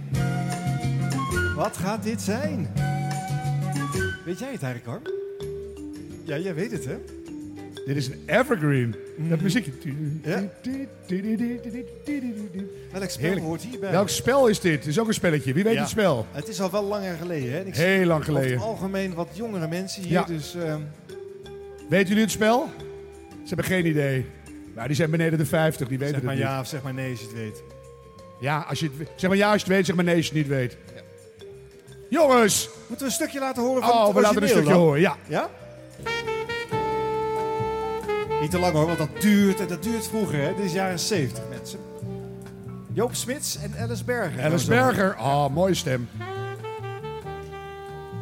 Wat gaat dit zijn? Weet jij het eigenlijk, Harm? Ja, jij weet het, hè? Dit is een evergreen. Dat muziekje. Welk spel Heerlijk. hoort hierbij? Welk spel is dit? Het is ook een spelletje. Wie weet Ja. het spel? Het is al wel langer geleden, hè? En ik Heel zie lang over geleden. het algemeen wat jongere mensen hier, Ja. dus... ehm, Weet jullie het spel? Ze hebben geen idee. Maar die zijn beneden de 50, die weten zeg maar het ja niet. of zeg maar nee als je het weet. Ja, als je het, we- zeg maar ja als je het weet, zeg maar nee als je het niet weet. Jongens! Moeten we een stukje laten horen van Oh, het we laten een origineel stukje dan? horen, ja. Ja? Niet te lang hoor, want dat duurt en dat duurt vroeger. Hè? Dit is jaren 70 mensen. Joop Smits en Alice Berger. Alice Berger, oh, mooie stem.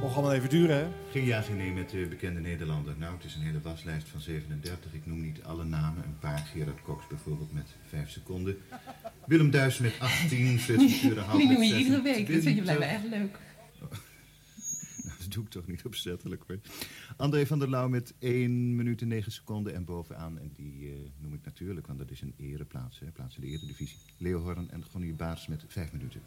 Mocht allemaal even duren, hè? Ging ja, ging nee met de bekende Nederlander. Nou, het is een hele waslijst van 37. Ik noem niet alle namen. Een paar. Gerard Cox bijvoorbeeld met 5 seconden. Willem Duis met 18. Frits Ventura half Die met noem je 6. iedere week. Dat vind je blijkbaar Willy echt leuk. Nou, dat doe ik toch niet opzettelijk hoor. André van der Lauw met 1 minuut en 9 seconden en bovenaan. En die eh, noem ik natuurlijk, want dat is een ereplaats, hè, plaats in de eredivisie. Leo Horn en Gonnie Baars met 5 minuten.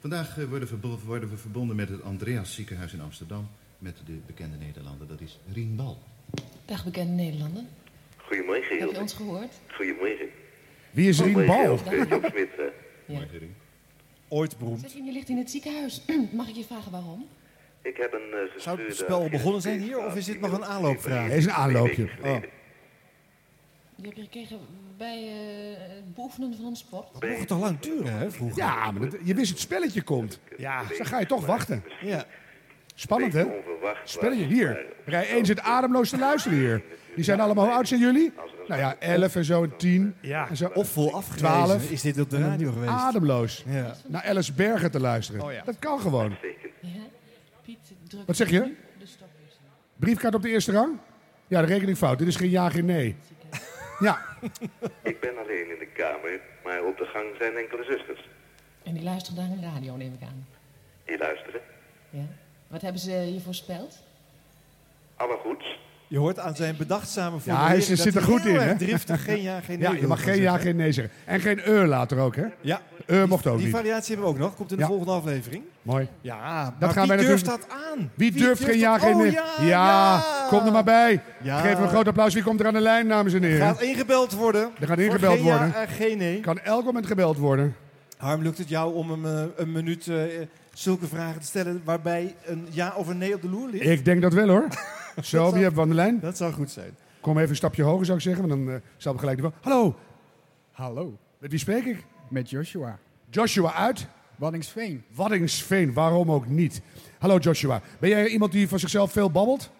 Vandaag eh, worden, verbo- worden we verbonden met het Andreas ziekenhuis in Amsterdam. Met de bekende Nederlander, dat is Rien Bal. Dag bekende Nederlander. Goedemorgen, Heb je ons gehoord? Goedemorgen. Wie is Rien Bal? eh. Ooit beroemd. Zeg, je ligt in het ziekenhuis. Mag ik je vragen waarom? Ik heb een eh Zou het spel al begonnen zijn hier of is dit nog een aanloopvraag? Dit is een aanloopje. Oh. Je hebt je gekregen bij eh, het beoefenen van een sport. Oh, Dat mocht toch lang duren, hè, vroeger? Ja, maar dat- je wist het spelletje komt. Ja. Dus dan ga je toch wachten. Ja. Spannend, hè? onverwacht. Spelletje hier. Rij 1 zit ademloos te luisteren hier. Die zijn allemaal, hoe oud zijn jullie? Als er een Nou ja, 11 en zo, en 10. Ja. En zo. Of vol afgewezen. Is dit op de En dan radio geweest? Ademloos. Ja. Naar Alice Berger te luisteren. Oh ja. Dat kan gewoon. Ja, Piet, druk Wat zeg je? nu De stopjes. Briefkaart op de eerste rang? Ja, de rekening fout. Dit is geen ja, geen nee. Ja, Ik ben alleen in de kamer, maar op de gang zijn enkele zusters. En die luisteren naar de radio, neem ik aan. Die luisteren. Ja. Wat hebben ze je voorspeld? Alle goeds. Je hoort aan zijn bedachtzame ja hij formulering is- zit er dat goed heel in. erg Hè? driftig geen ja, geen nee. Ja, je mag geen ja, geen nee zeggen. En geen eur later ook, hè? Ja. Eur mocht ook Die niet. variatie hebben we ook nog. Komt in de Ja. volgende aflevering. Mooi. Ja, dat gaan wie wij durft natuurlijk- dat aan? Wie durft geen ja, dat- geen Oh, nee? ja, kom er maar bij. Ja. Geef hem een groot applaus. Wie komt er aan de lijn, dames en heren? Gaat ingebeld worden. Er gaat Voor ingebeld geen worden. Ja, en geen nee. Kan elk moment gebeld worden. Harm, lukt het jou om hem, eh, een minuut eh, zulke vragen te stellen waarbij een ja of een nee op de loer ligt? Ik denk dat wel, hoor. Zo, wie hebben we aan de lijn? Dat zou goed zijn. Kom even een stapje hoger, zou ik zeggen. Want dan eh zal we gelijk... de- Hallo, Hallo, met wie spreek ik? met Joshua. Joshua uit? Waddingsveen. Waddingsveen, waarom ook niet? Hallo Joshua, ben jij iemand die van zichzelf veel babbelt?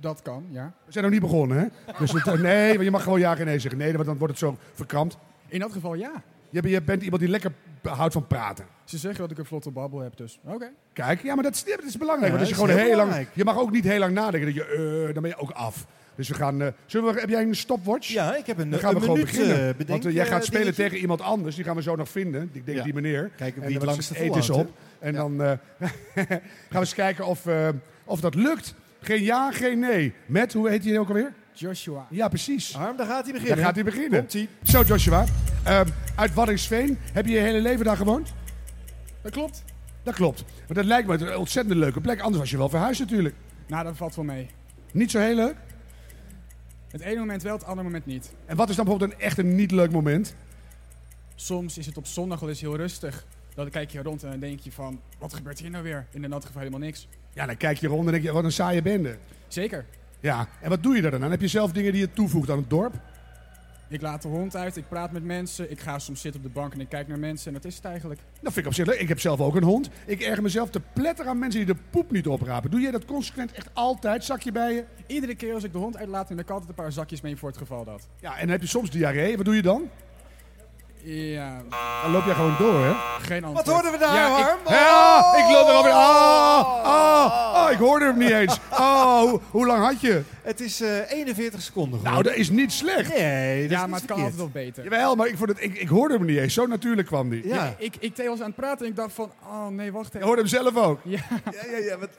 Dat kan, ja. We zijn nog niet begonnen, hè? Dus het, eh, nee, want je mag gewoon ja en nee zeggen. Nee, want dan wordt het zo verkrampt. In dat geval ja. Je, bent- je bent iemand die lekker houdt van praten. Ze zeggen dat ik een vlotte babbel heb, dus oké. Kijk, ja, maar dat is, dat is belangrijk. Ja, want als je, dat is gewoon heel heel lang, je mag ook niet heel lang nadenken. Dat je, eh, dan ben je ook af. Dus we gaan. eh, zullen we, heb jij een stopwatch? Ja, ik heb een, Dan gaan we een gewoon minuut, beginnen. eh, Want bedenk, eh, jij eh, gaat spelen dingetje. tegen iemand anders. Die gaan we zo nog vinden. Ik denk Ja. die meneer. Kijken wie En het dan langste eten is op. volhoudt, En dan eh, gaan we eens kijken of, eh, of dat lukt. Geen ja, geen nee. Met, hoe heet hij ook alweer? Joshua. Ja, precies. Harm, daar gaat hij beginnen. Daar gaat hij beginnen. Komt-ie. Zo, Joshua. Ehm, uit Waddingsveen. Heb je je hele leven daar gewoond? Dat klopt. Dat klopt. Want dat lijkt me een ontzettend leuke plek. Anders was je wel verhuisd natuurlijk. Nou, dat valt wel mee. Niet zo heel leuk. Het ene moment wel, het andere moment niet. En wat is dan bijvoorbeeld een echt een niet leuk moment? Soms is het op zondag wel eens heel rustig. Dan kijk je rond en dan denk je van, wat gebeurt hier nou weer? In de nat geval helemaal niks. Ja, dan kijk je rond en denk je, wat een saaie bende. Zeker. Ja, en wat doe je daar dan aan? Heb je zelf dingen die je toevoegt aan het dorp? Ik laat de hond uit, ik praat met mensen, ik ga soms zitten op de bank en ik kijk naar mensen en dat is het eigenlijk. Dat vind ik op zich leuk. Ik heb zelf ook een hond. Ik erger mezelf te pletter aan mensen die de poep niet oprapen. Doe jij dat consequent echt altijd? Zakje bij je? Iedere keer als ik de hond uitlaat, neem ik altijd een paar zakjes mee voor het geval dat. Ja, en dan heb je soms diarree. Wat doe je dan? Ja, Dan loop jij gewoon door, hè? geen antwoord. hoorden we daar, ja, ik- Harm? Oh! Ja, ik loop er alweer. Ah, ah, ah, ik hoorde hem niet eens. Oh, hoe, hoe lang had je? Het is eh, 41 seconden. Nou, dat is niet slecht. Nee, dat ja, is niet maar het kan verkeerd. altijd wel beter. Jawel, maar ik, vond het, ik, ik hoorde hem niet eens. Zo natuurlijk kwam die. Ja. Ja, ik, ik Theo was aan het praten en ik dacht van, oh nee, wacht Je even. hoorde hem zelf ook. Ja, ja, ja. Wat...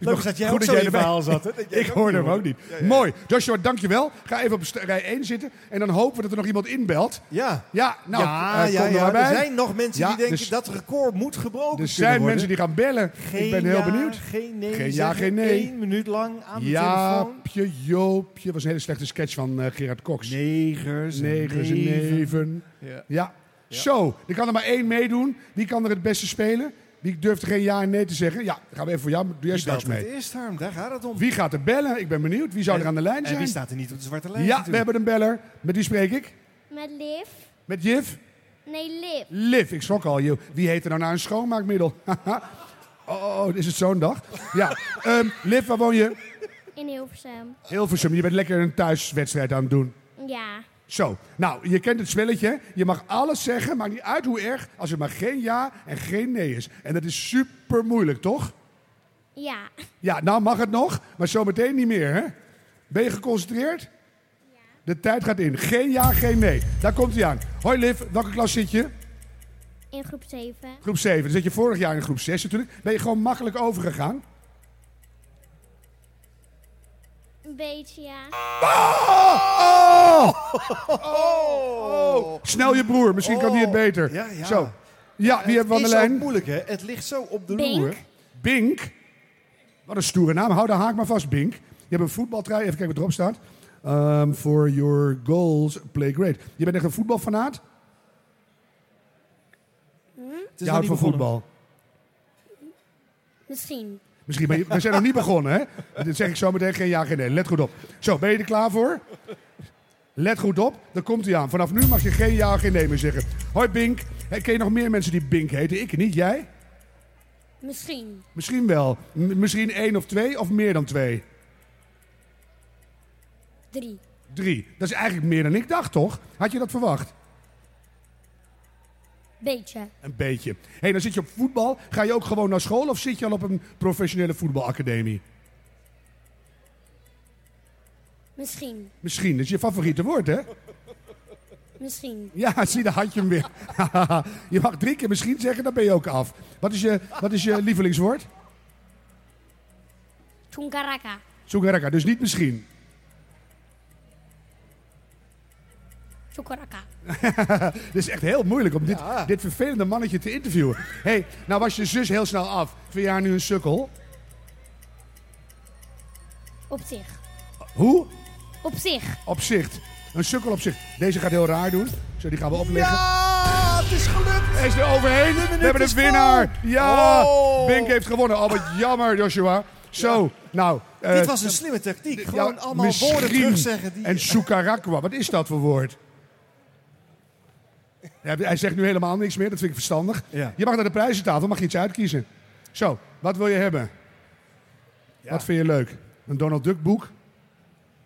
Leuk is dat jij Goed ook dat zo in jij je erbij- verhaal zat. Hè? Dat jij ik ook hoorde hem hoorde. ook niet. Mooi. Joshua, dankjewel. Ga even op st- rij 1 zitten. En dan hopen we dat er nog iemand inbelt. Ja. Ja, nou, ja, eh, ja, kom er ja. maar bij. Er zijn nog mensen Ja, die denken dus- dat het record moet gebroken Er kunnen zijn worden. mensen die gaan bellen. Geen ik ben heel ja, benieuwd. Geen nee. Geen ja, zeggen, geen nee. Eén minuut lang aan de telefoon. Jaapje, Joopje. was een hele slechte sketch van eh, Gerard Cox. Negers. en Negers en neven. neven. Ja. Ja. Zo, er kan er maar één meedoen. Wie kan er het beste spelen? Wie durft er geen ja en nee te zeggen? Ja, dan gaan we even voor jou. Doe jij Wie belt straks het mee. eerst, Harm? Daar gaat het om. Wie gaat er bellen? Ik ben benieuwd. Wie zou er aan de lijn En zijn? wie staat er niet op de zwarte ja, lijst? we hebben een beller. Met wie spreek ik? Met Liv? Met Jif? Nee, Liv. Liv. Ik schrok al. joh. Wie heet er nou naar een schoonmaakmiddel? oh, is het zo'n dag? Ja. Ehm Liv, waar woon je? In Hilversum. Hilversum. Je bent lekker een thuiswedstrijd aan het doen. Ja. Zo, nou, je kent het spelletje. hè? Je mag alles zeggen, maakt niet uit hoe erg, als het maar geen ja en geen nee is. En dat is super moeilijk, toch? Ja. Ja, nou mag het nog, maar zometeen niet meer, hè? Ben je geconcentreerd? De tijd gaat in. Geen ja, geen nee. Daar komt hij aan. Hoi Liv, welke klas zit je? In groep 7. Groep 7. Dan zit je vorig jaar in groep 6 natuurlijk. Ben je gewoon makkelijk overgegaan? Een beetje, ja. Oh! Oh! Snel je broer, misschien kan die het beter. Oh! Ja, ja. Zo. Ja, die hebben we aan is de lijn. ook moeilijk, hè? Het ligt zo op de Bink. loer. Bink. Wat een stoere naam. Hou de haak maar vast, Bink. Je hebt een voetbaltrui. Even kijken wat erop staat. Ehm, for your goals, play great. Je bent echt een voetbalfanaat? Hm? Het is Je nog houdt niet van begonnen. voetbal. Misschien. Misschien, maar je- we zijn nog niet begonnen, hè? Dat zeg ik zo meteen geen ja, geen nee. Let goed op. Zo, ben je er klaar voor? Let goed op, daar komt hij aan. Vanaf nu mag je geen ja, geen nee meer zeggen. Hoi Bink. Hey, ken je nog meer mensen die Bink heten? Ik niet, jij? Misschien. Misschien wel. M- misschien één of twee, of meer dan twee? Drie. Drie. Dat is eigenlijk meer dan ik dacht, toch? Had je dat verwacht? Beetje. Een beetje. Hé, hey, dan zit je op voetbal. Ga je ook gewoon naar school of zit je al op een professionele voetbalacademie? Misschien. Misschien, dat is je favoriete woord, hè? Misschien. Ja, zie, daar had je hem weer. je mag drie keer misschien zeggen, dan ben je ook af. Wat is je, wat is je lievelingswoord? Tungaraka. Soekaraka, dus niet misschien. Chokoraka. Het is echt heel moeilijk om dit, dit vervelende mannetje te interviewen. Hé, hey, nou was je zus heel snel af. Vind je haar nu een sukkel? Op zich. Hoe? Op zich. Opzicht. Een sukkel op zich. Deze gaat heel raar doen. Zo, die gaan we opleggen. Ah, het is gelukt. Hij is er overheen. We hebben een winnaar. Ja, Bink heeft gewonnen. Oh, wat jammer, Joshua. Zo, nou. eh, Dit was een slimme techniek. ja, Gewoon allemaal woorden misschien. terugzeggen. Die... En Sukarakwa, wat is dat voor woord? Ja, Hij zegt nu helemaal niks meer, dat vind ik verstandig. Ja. Je mag naar de prijzentafel, mag je iets uitkiezen. Zo, wat wil je hebben? Wat vind je leuk? Een Donald Duck boek?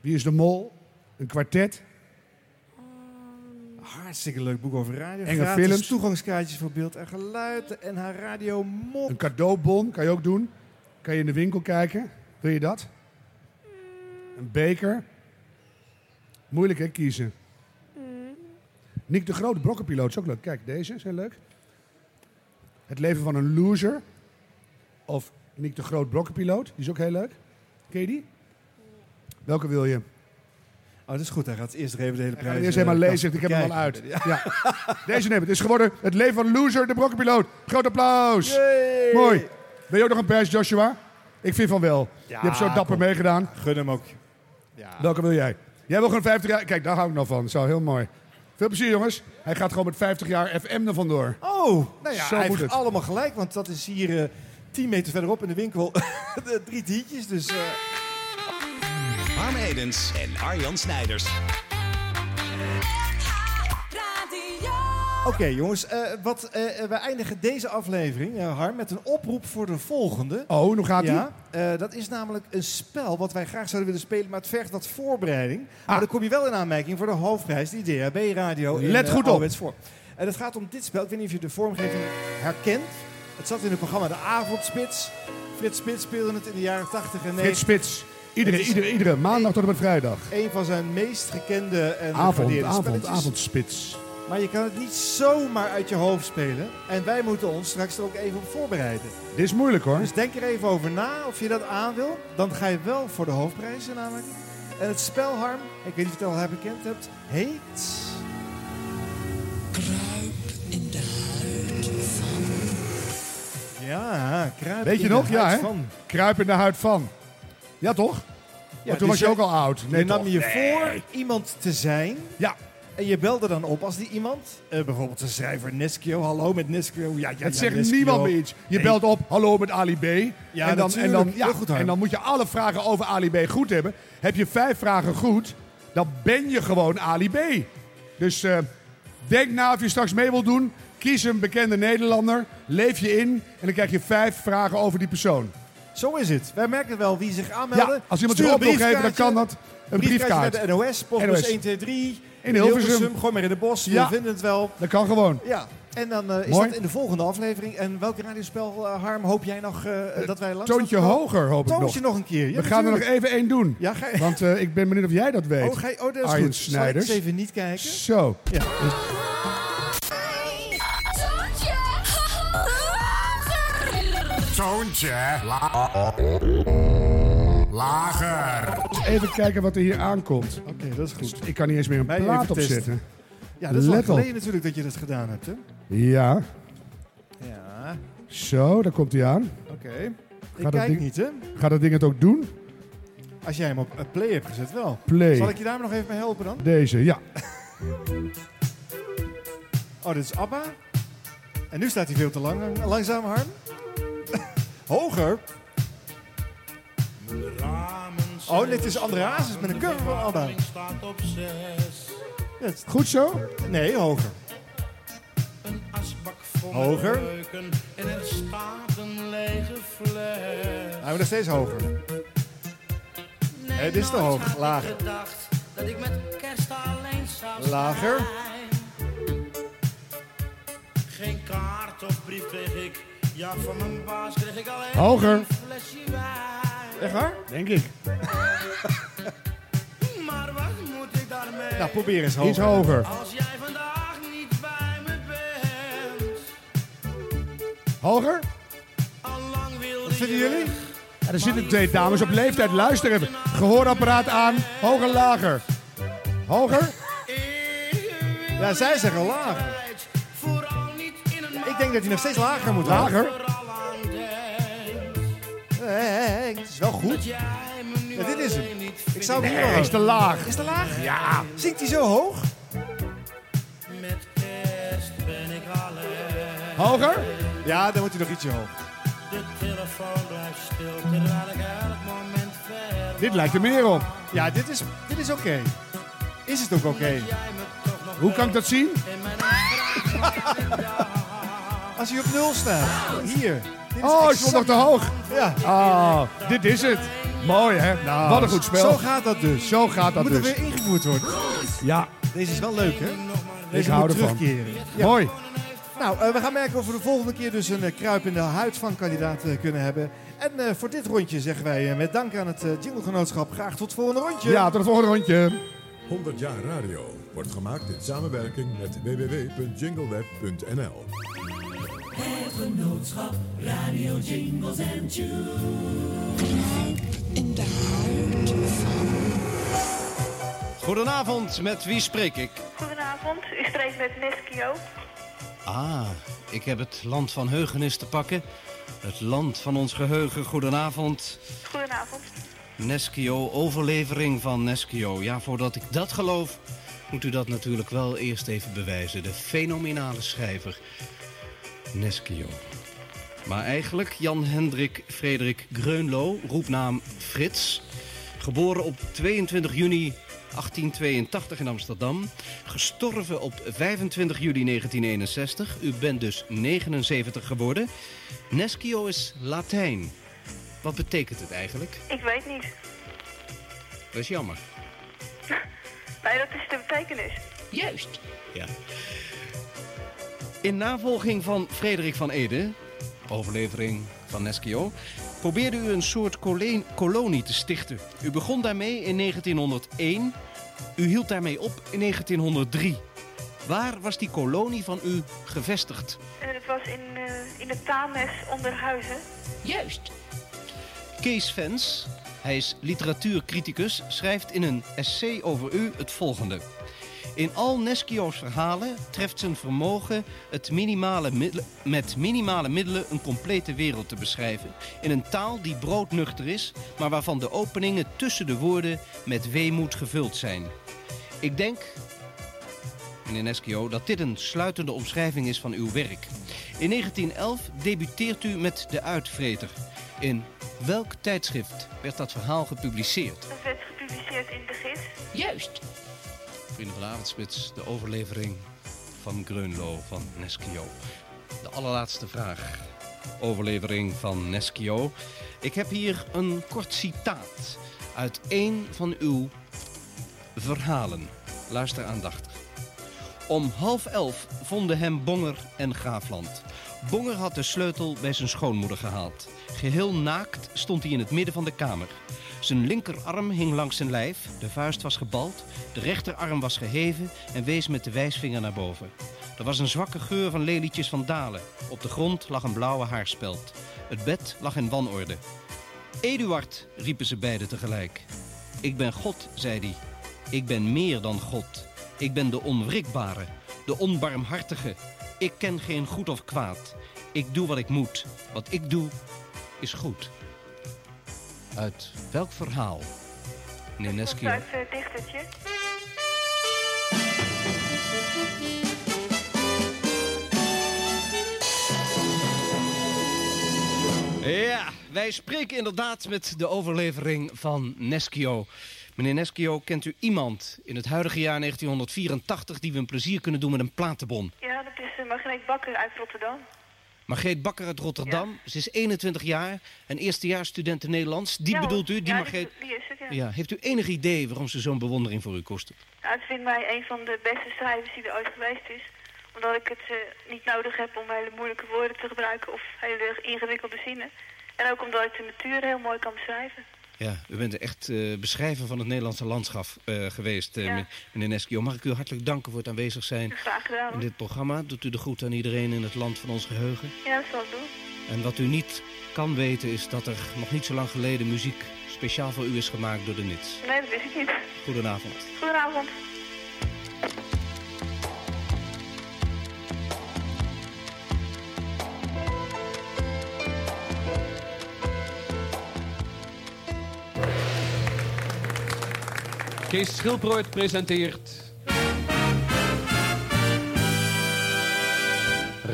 Wie is de mol? Een kwartet? Hartstikke leuk boek over radio. Enge Gratis films. toegangskaartjes voor beeld en geluid. De NH Radio mop. Een cadeaubon kan je ook doen. Kan je in de winkel kijken. Wil je dat? Een beker. Moeilijk hè, kiezen. Nick de Groot, brokkenpiloot, is ook leuk. Kijk, deze zijn leuk. Het leven van een loser. Of Nick de Groot, brokkenpiloot, die is ook heel leuk. Ken je die? Welke wil je? Oh, dat is goed. Hij gaat eerst nog even de hele Ga prijs... eerst eh, helemaal lezen, dus kast ik heb hem al uit. bekijken. Ja. Deze neem het. Het is geworden het leven van loser, de brokkenpiloot. Groot applaus. Yay. Mooi. Ben je ook nog een pers, Joshua? Ik vind van wel. Ja, je hebt zo dapper kom. meegedaan. Gun hem ook. Welke wil jij? Jij wil gewoon 50 jaar... Kijk, daar hou ik nog van. Zo, heel mooi. Veel plezier, jongens. Hij gaat gewoon met 50 jaar FM er vandoor. Oh, nou ja, Zo hij moet heeft het. allemaal gelijk. Want dat is hier eh, 10 meter verderop in de winkel. de drie tientjes, dus... eh, Harm Edens en Arjan Snijders. Oké jongens, eh, wat, eh, eh, we eindigen deze aflevering, eh, Harm, met een oproep voor de volgende. Oh, hoe gaat-ie? ja, eh, Dat is namelijk een spel wat wij graag zouden willen spelen, maar het vergt wat voorbereiding. Ah. Maar dan kom je wel in aanmerking voor de hoofdprijs, die DHB Radio. in, Let eh, goed op. ouderwets Voor. En het gaat om dit spel, ik weet niet of je de vormgeving herkent. Het zat in het programma De Avondspits. Frits Spits speelde het in de jaren 80 en 90. Frits Spits. Iedere, Het is- iedere, iedere maandag tot en met vrijdag. Een van zijn meest gekende en Avond, gewaardeerde avond, spelletjes. avondspits. Maar je kan het niet zomaar uit je hoofd spelen. En wij moeten ons straks er ook even op voorbereiden. Dit is moeilijk, hoor. Dus denk er even over na of je dat aan wil. Dan ga je wel voor de hoofdprijs in aanmerking. En het spel, Harm, ik weet niet of je het al bekend hebt, heet... Ja, kruip Weet je in de nog? Ja, huid hè? van. Kruip in de huid van. Ja, toch? maar toen dus was je ook al oud. Nee, je nam toch? je Nee. voor iemand te zijn. Ja. En je belde dan op als die iemand, eh, bijvoorbeeld de schrijver Nesquio, hallo met Nesquio. Ja, ja, het ja, zegt Nesquio. niemand meer iets. Je Nee. belt op, hallo met Ali B. Ja, en, dan, en, natuurlijk. dan, ja, Heel goed, Harm. en dan moet je alle vragen over Ali B goed hebben. Heb je vijf vragen goed, dan ben je gewoon Ali B. Dus eh, denk na of je straks mee wilt doen. Kies een bekende Nederlander, leef je in en dan krijg je vijf vragen over die persoon. Zo is het. Wij merken wel wie zich aanmelden. Ja, als iemand Stuur zich een op wil geven, dan briefkaartje. kan dat. Een briefkaartje briefkaart. naar de NOS, postbus NOS. 123. In Hilversum. Gewoon maar in de bos, Ja. we vinden het wel. Dat kan gewoon. Ja, en dan eh, is Mooi. dat in de volgende aflevering. En welk radiospel, eh, Harm, hoop jij nog eh, dat wij langs Toontje gaan komen? hoger, hoop ik nog. Toontje nog een keer. Ja, We gaan er nog natuurlijk. even één doen. Ja, ga- Want eh, ik ben benieuwd of jij dat weet. Oh, ga je- oh, dat is Arjen goed. Zal ik Snijders. eens even niet kijken? Zo. Ja. Toontje. La- Lager. Even kijken wat er hier aankomt. Oké, dat is goed. Ik kan niet eens meer een Mij plaat even testen. opzetten. Ja, dat is lang Let op. geleden natuurlijk dat je dat gedaan hebt, hè? Ja, Ja, zo, daar komt hij aan. oké. Ik dat kijk ding- niet, hè? Gaat dat ding het ook doen? Als jij hem op eh, play hebt gezet, wel. Play. Zal ik je daar nog even mee helpen dan? Deze, ja. Oh, dit is Abba. En nu staat hij veel te lang. Langzaam, Harm. Hoger. Oh, dit is André Hazes met een cover van Abba. staat op zes. Goed zo? Nee, hoger. Een asbak vol Hoger. reuken en er staat een lege fles. Hij wordt nog steeds hoger. Nee, dit is te hoog. Laag. Gedacht, dat ik met kerst alleen zou Lager. zijn. Geen kaart of brief kreeg ik. Ja, van mijn baas kreeg ik alleen Hoger. een flesje wijn. Echt waar? Denk ik. Maar wat moet ik daarmee? Nou, probeer eens hoger. Iets hoger. Als jij vandaag niet bij me bent. Hoger? Wat vinden jullie? Ja, er zitten twee dames op leeftijd. Luister even. Gehoorapparaat aan. Hoger, lager. Hoger? Ja, zij zeggen lager. Ja, ik denk dat hij nog steeds lager moet Lager? Hé, hé, hé, Eh, Het is wel goed. Ja, dit is hem. Ik zou hem Nee, hier wel- is te laag. Is te laag? Ja. Zingt hij zo hoog? Met kerst ben ik alleen. Hoger? Ja, dan wordt hij nog ietsje hoog. De telefoon blijft stil terwijl ik elk moment ver. Dit lijkt er meer op. Ja, dit is, dit is oké. Is het ook oké? Hoe kan ik dat zien? Als hij op nul staat. Hier. Dit is Oh, ik exact- stond nog te hoog. Ja. Oh, dit is het. Mooi, hè? Nou, Wat een goed spel. Zo gaat dat dus. Zo gaat dat Moet er dus. weer ingevoerd worden. Ja, Deze is wel leuk, hè? Deze hou moet ervan. terugkeren. Mooi. Nou, eh, we gaan merken of we de volgende keer dus een eh, kruipende huid van kandidaat eh, kunnen hebben. En eh, voor dit rondje zeggen wij eh, met dank aan het eh, Jinglegenootschap graag tot het volgende rondje. Ja, tot het volgende rondje. 100 jaar radio wordt gemaakt in samenwerking met www.jingleweb.nl. Het genootschap Radio Jingles en Tunes. In de huid Goedenavond, met wie spreek ik? Goedenavond, u spreekt met Neskio. Ah, ik heb het land van heugenis te pakken. Het land van ons geheugen. Goedenavond. Goedenavond. Neskio, overlevering van Neskio. Ja, voordat ik dat geloof, moet u dat natuurlijk wel eerst even bewijzen. De fenomenale schrijver Neskio. Maar eigenlijk Jan Hendrik Frederik Greunlo, roepnaam Frits. Geboren op 22 juni 1882 in Amsterdam. Gestorven op 25 juli 1961. U bent dus 79 geworden. Neskio is Latijn. Wat betekent het eigenlijk? Ik weet niet. Dat is jammer. Nee, dat is de betekenis. Juist. Ja. In navolging van Frederik van Ede, overlevering van Neschio, probeerde u een soort kole- kolonie te stichten. U begon daarmee in 1901. U hield daarmee op in 1903. Waar was die kolonie van u gevestigd? En het was in, eh, in de Tames onder Huizen. Juist. Kees Vens, hij is literatuurcriticus, schrijft in een essay over u het volgende. In al Neskio's verhalen treft zijn vermogen het minimale middel- met minimale middelen een complete wereld te beschrijven. In een taal die broodnuchter is, maar waarvan de openingen tussen de woorden met weemoed gevuld zijn. Ik denk meneer Neskio, dat dit een sluitende omschrijving is van uw werk. In 1911 debuteert u met De Uitvreter. In welk tijdschrift werd dat verhaal gepubliceerd? Dat werd gepubliceerd in de gids. Juist. Vrienden van de Avondspits, de overlevering van Greunlo van Neskio. De allerlaatste vraag. Overlevering van Neskio. Ik heb hier een kort citaat uit een van uw verhalen. Luister aandachtig. Om half elf vonden hem Bonger en Graafland. Bonger had de sleutel bij zijn schoonmoeder gehaald. Geheel naakt stond hij in het midden van de kamer. Zijn linkerarm hing langs zijn lijf, de vuist was gebald, de rechterarm was geheven en wees met de wijsvinger naar boven. Er was een zwakke geur van lelietjes van dalen. Op de grond lag een blauwe haarspeld. Het bed lag in wanorde. Eduard, riepen ze beiden tegelijk. Ik ben God, zei hij. Ik ben meer dan God. Ik ben de onwrikbare, de onbarmhartige. Ik ken geen goed of kwaad. Ik doe wat ik moet. Wat ik doe, is goed. Uit welk verhaal? Meneer Dat Neskio. was het dichtertje. Ja, wij spreken inderdaad met de overlevering van Neskio. Meneer Neskio, kent u iemand in het huidige jaar 1984 die we een plezier kunnen doen met een platenbon? Ja, dat is eh, Margreet Bakker uit Rotterdam. Margreet Bakker uit Rotterdam. Ze is 21 jaar en eerstejaarsstudent in Nederlands. Die Ja, hoor. bedoelt u, die Ja, Margreet? Die, die is het, ja. Ja, heeft u enig idee waarom ze zo'n bewondering voor u koestert? Nou, het vindt mij een van de beste schrijvers die er ooit geweest is. Omdat ik het eh, niet nodig heb om hele moeilijke woorden te gebruiken of hele ingewikkelde zinnen. En ook omdat ik de natuur heel mooi kan beschrijven. Ja, u bent echt eh, beschrijver van het Nederlandse landschap eh, geweest, eh, Ja. me- meneer Neskio. Mag ik u hartelijk danken voor het aanwezig zijn Graag gedaan. in dit programma. Doet u de groet aan iedereen in het land van ons geheugen. Ja, dat zal ik doen. En wat u niet kan weten is dat er nog niet zo lang geleden muziek speciaal voor u is gemaakt door de Nits. Nee, dat wist ik niet. Goedenavond. Goedenavond. Kees Schilbrood presenteert...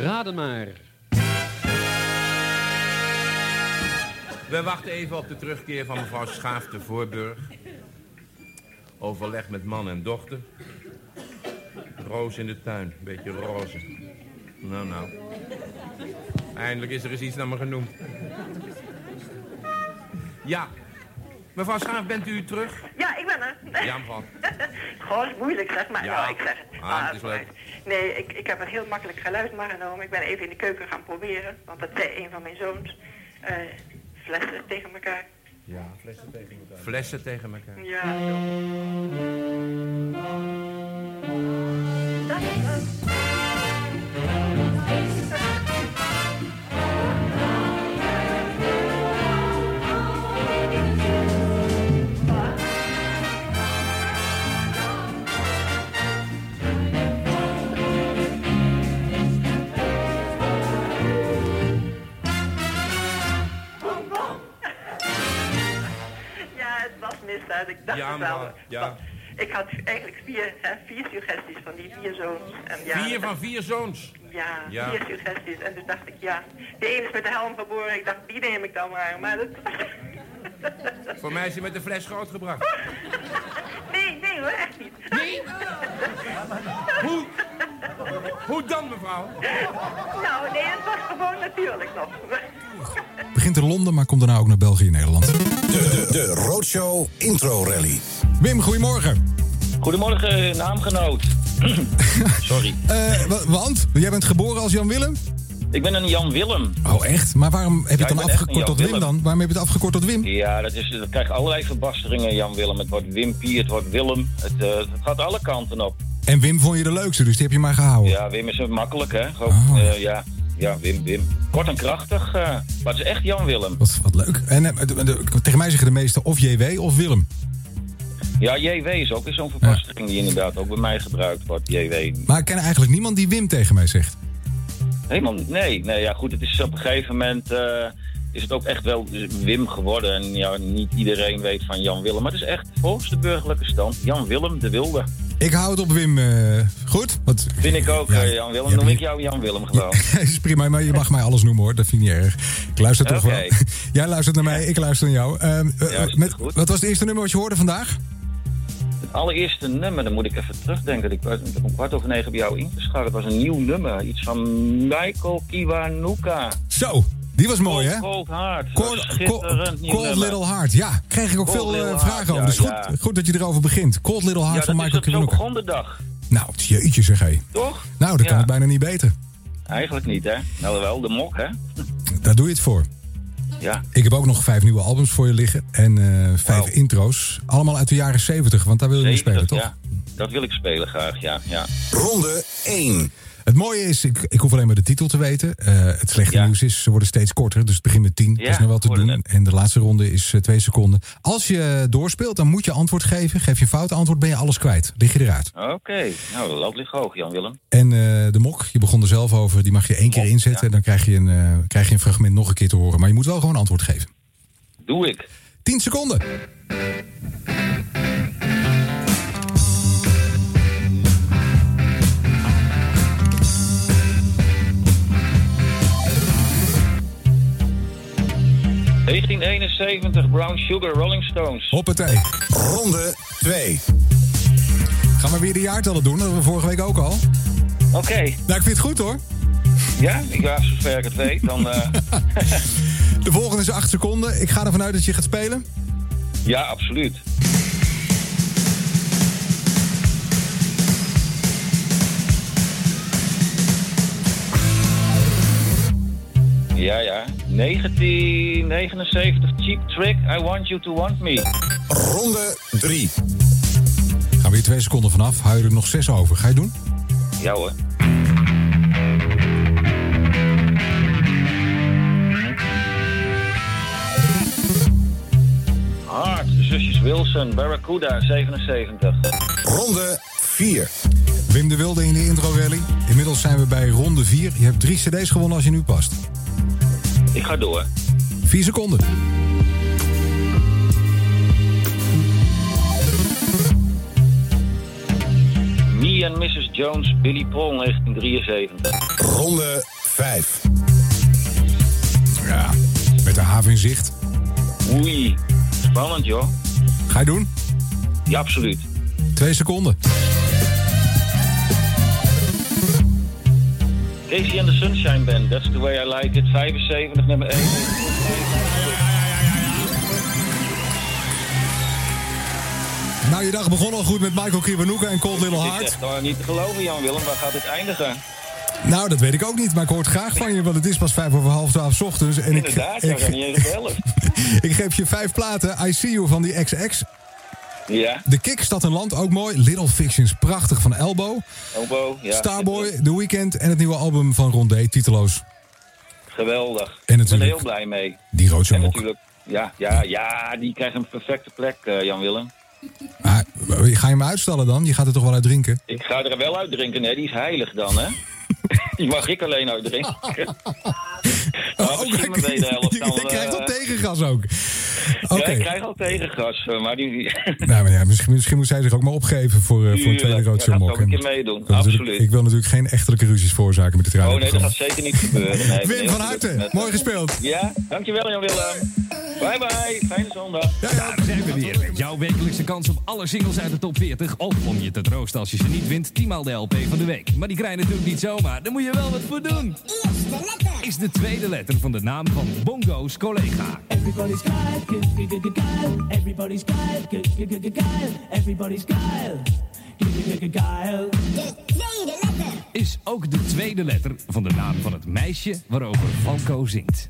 Raden maar. We wachten even op de terugkeer van mevrouw Schaaf te Voorburg. Overleg met man en dochter. Roos in de tuin, een beetje roze. Nou, nou. Eindelijk is er eens iets naar me genoemd. Ja. Mevrouw Schaaf, bent u terug? Ja, ik ben er. Ja, mevrouw. Goh, is moeilijk zeg maar. Ja. Nou, ik zeg, Ah, het is leuk. nee, ik, ik heb een heel makkelijk geluid maar genomen. Ik ben even in de keuken gaan proberen, want dat zei een van mijn zoons. Eh, flessen tegen elkaar. Ja, flessen tegen elkaar. Flessen tegen elkaar. Ja, zo. Ja, het was misdaad. Ik dacht Ja, het wel. maar. Ja. Ik had eigenlijk vier, hè, vier suggesties van die vier zoons. En ja, Vier dat- van vier zoons. Ja, Ja. vier suggesties. En toen dacht ik, ja, de ene is met de helm geboren. Ik dacht, die neem ik dan maar. Maar dat... Voor mij is hij met de fles grootgebracht. Nee, nee hoor, echt niet. Nee? Hoe? Hoe dan, mevrouw? Nou, nee, het was gewoon natuurlijk nog. Begint in Londen, maar komt daarna ook naar België en Nederland. De, de Roadshow Intro Rally. Wim, goedemorgen. Goedemorgen, naamgenoot. Sorry. Eh, wa- want? Jij bent geboren als Jan Willem? Ik ben een Jan Willem. Oh, echt? Maar waarom heb je Ja, het ik dan ben echt een afgekort tot Jan Wim Willem. dan? Waarom heb je het afgekort tot Wim? Ja, dat, is, dat krijgt allerlei verbasteringen, Jan Willem. Het wordt Wimpie, het wordt Willem. Het, eh, het gaat alle kanten op. En Wim vond je de leukste, dus die heb je maar gehouden. Ja, Wim is een makkelijk, hè? Gewoon, Oh. eh, ja. ja, Wim, Wim. Kort en krachtig, eh, maar het is echt Jan Willem. Wat, wat leuk. En eh, de- de- tegen mij zeggen de meesten of JW of Willem. Ja, JW is ook weer zo'n verbastering die inderdaad ook bij mij gebruikt wordt, JW. Maar ik ken eigenlijk niemand die Wim tegen mij zegt. Helemaal niet. Nee, nee, ja, goed. Het is op een gegeven moment. eh, is het ook echt wel Wim geworden. En ja, niet iedereen weet van Jan Willem. Maar het is echt volgens de burgerlijke stand Jan Willem de Wilde. Ik hou het op Wim. eh, goed? Wat, Vind ik ook, eh, Jan Willem. Noem ik jou Jan Willem gewoon. is prima, maar je mag mij alles noemen hoor. Dat vind ik niet erg. Ik luister toch Oké. wel. Jij luistert naar mij, ik luister naar jou. Ehm, eh, Ja, is met, goed. wat was het eerste nummer wat je hoorde vandaag? Het allereerste nummer, dan moet ik even terugdenken. Ik, was- ik heb om kwart over negen bij jou ingeschakeld. Het was een nieuw nummer. Iets van Michael Kiwanuka. Zo, die was mooi hè? Cold Heart. Cold- Schitterend nieuw Cold nummer. Little Heart, ja. Kreeg ik ook Cold veel eh, Little Heart, vragen over. ja, Dus goed, ja. goed dat je erover begint. Cold Little Heart Ja, van dat is Michael dat zo Kiwanuka. begon de dag. Nou, jeetje zeg hé. Toch? Nou, dat kan het bijna niet beter. Eigenlijk niet, hè? Nou wel, de mok, hè? Daar doe je het voor. Ja. Ik heb ook nog vijf nieuwe albums voor je liggen. En eh, vijf intro's. Allemaal uit de jaren 70, want daar wil je mee spelen, toch? Ja, dat wil ik spelen graag, ja. ja. Ronde 1. Het mooie is, ik, ik hoef alleen maar de titel te weten. Eh, het slechte nieuws is, ze worden steeds korter. Dus het begint met 10. dat is nog wel te doen. En de laatste ronde is 2 twee seconden. Als je doorspeelt, dan moet je antwoord geven. Geef je een fout antwoord, ben je alles kwijt. Lig je eruit. Oké, nou, dat loopt ligt hoog, Jan-Willem. En eh, de mok, je begon er zelf over. Die mag je één keer inzetten. En dan krijg je, een, eh, krijg je een fragment nog een keer te horen. Maar je moet wel gewoon antwoord geven. Doe ik. 10 seconden. Jan-Willem. 1971, Brown Sugar, Rolling Stones. Hoppatee. Ronde 2. Gaan we weer de jaartallen doen? Dat hadden we vorige week ook al. Oké. Nou, ik vind het goed hoor. Ja, ik ga zover ik het weet. Dan, eh, De volgende is 8 seconden. Ik ga ervan uit dat je gaat spelen. ja, absoluut. Ja, ja. 1979, Cheap Trick, I Want You To Want Me. Ronde 3. Gaan we hier twee seconden vanaf. Hou je er nog zes over. Ga je het doen? Ja hoor. Hard, de zusjes Wilson, Barracuda, 77. Ronde 4. Wim de Wilde in de intro rally. Inmiddels zijn we bij ronde 4. Je hebt drie cd's gewonnen als je nu past. Ik ga door. Vier seconden. Me and Mrs. Jones, Billy Paul, 1973. Ronde 5. Ja, met de haven in zicht. Oei, spannend joh. Ga je doen? Ja, absoluut. Twee seconden. Casey and the Sunshine Band, That's the Way I Like It, 75, nummer 1. Nou, je dag begon al goed met Michael Kiwanuka en Cold Little Dit is Heart. echt eh, niet te geloven, Jan-Willem. Waar gaat dit eindigen? Nou, dat weet ik ook niet, maar ik hoor het graag van je, want het is pas vijf over half twaalf 's ochtends. En ik, Inderdaad, we gaan ik, niet eens op 11. ik geef je vijf platen. I See You van die XX. Ja, De Kick, Stad en Land, ook mooi. Little Fictions, prachtig van Elbow. Elbow, Oh, ja. Starboy, The Weeknd en het nieuwe album van Rondé, titeloos. Geweldig. En Ik ben er natuurlijk- heel blij mee. Die rood En natuurlijk, ja, ja, ja, die krijgt een perfecte plek, eh, Jan-Willem. Maar, eh, ga je me uitstellen dan? Je gaat er toch wel uit drinken? Ik ga er wel uit drinken, hè. Die is heilig dan, hè. die mag ik alleen uit drinken. Nou, oh, misschien mijn wederhelft dan... Je krijgt eh, al tegengas ook. Oké. Ja, ik krijg al tegengas, eh, maar die... Nou, maar ja, misschien, misschien moet zij zich ook maar opgeven voor, eh, voor een tweede Tuurlijk, rood ja, gaat Mok. ook een En keer meedoen, ik wil natuurlijk- absoluut. Ik wil natuurlijk geen echtelijke ruzies veroorzaken met het oh radio. nee, dat gaat zeker niet gebeuren. Nee, Wim, van harte. Mooi gespeeld. Ja, dankjewel Jan-Willem. Bye bye, fijne zondag. Daar zijn we weer met jouw wekelijkse kans op alle singles uit de top 40. Ook om je te troosten als je ze niet wint, 10 maal de LP van de week. Maar die krijg je natuurlijk niet zomaar, daar moet je wel wat voor doen. Is de tweede letter van de naam van Bongo's collega. Everybody's Kyle, good, good, good, good Kyle. Everybody's Kyle, good, good, good, good Kyle. Everybody's Kyle, good, good, good, good Kyle. Is ook de tweede letter van de naam van het meisje waarover Falco zingt.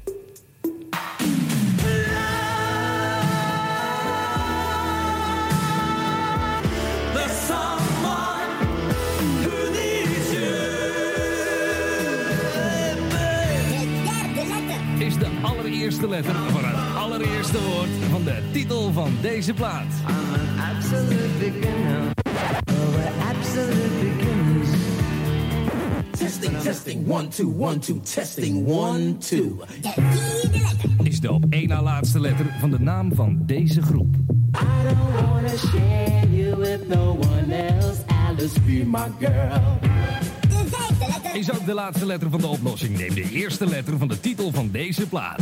There's someone who needs you. Is de allereerste letter van het allereerste woord van de titel van deze plaat. Testing, testing, one, two, one, two, testing, one, two. Is de op één na laatste letter van de naam van deze groep. I don't wanna share you with no one else. Alice, be my girl. Is ook de laatste letter van de oplossing. Neem de eerste letter van de titel van deze plaat.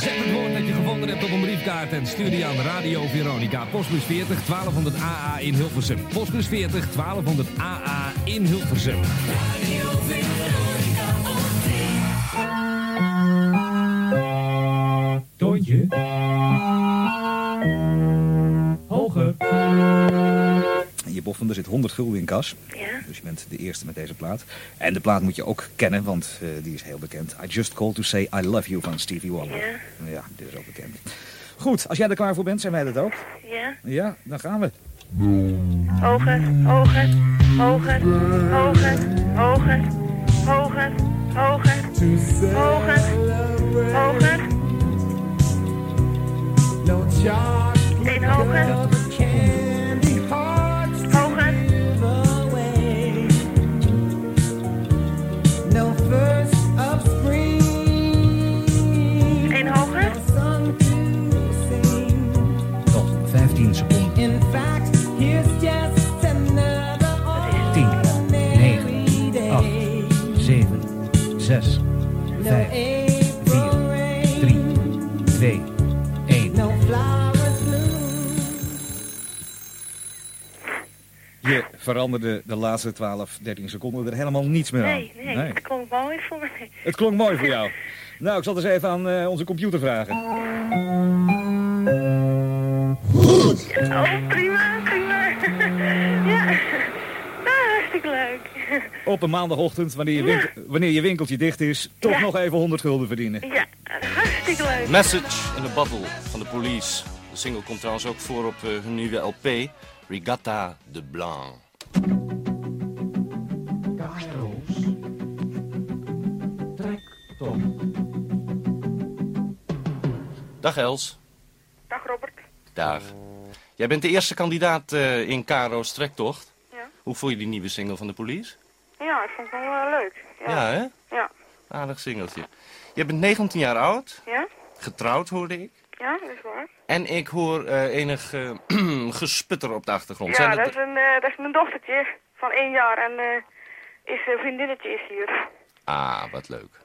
Zet het woord dat je gevonden hebt op een briefkaart en stuur die aan Radio Veronica. Postbus 40 1200 AA in Hilversum. Postbus 40 1200 AA in Hilversum. Tontje. Hoger. En je boffen, er zit 100 gulden in kas. Dus je bent de eerste met deze plaat. En de plaat moet je ook kennen, want eh, die is heel bekend. I Just Called To Say I Love You van Stevie Wonder. Ja. dit is ook bekend. Goed, als jij er klaar voor bent, zijn wij dat ook. Ja. Ja, dan gaan we. Hoger, hoger, hoger, hoger, hoger, hoger, hoger, hoger, hoger. Een hoger. Hoger. Een hoger. 15 seconden. 10, 9, 8, 7, 6, 5, 2, 1. No flowers Je veranderde de laatste 12, 13 seconden er helemaal niets meer aan. Nee, nee, het klonk mooi voor mij. Het klonk mooi voor jou. Nou, ik zal het eens even aan eh, onze computer vragen. Oh, prima, prima. Ja, nou, hartstikke leuk. Op een maandagochtend, wanneer je, winkel- wanneer je winkeltje dicht is, toch Ja. nog even 100 gulden verdienen. Ja, hartstikke leuk. Message in a Bottle van de Police. De single komt trouwens ook voor op eh, hun nieuwe LP, Regatta de Blanc. Dag Els. Dag Robert. Dag. Jij bent de eerste kandidaat eh, in Karo's trektocht. Ja. Hoe voel je die nieuwe single van de Police? Ja, ik vond het wel eh, leuk. Ja. Ja, hè? Ja. Aardig singeltje. Je bent 19 jaar oud, Ja? getrouwd hoorde ik. Ja, dat is waar. En ik hoor eh, enig eh, gesputter op de achtergrond. ja, Zijn dat het- is, een, eh, dat is mijn dochtertje van één jaar en eh, is eh, vriendinnetje is hier. Ah, wat leuk.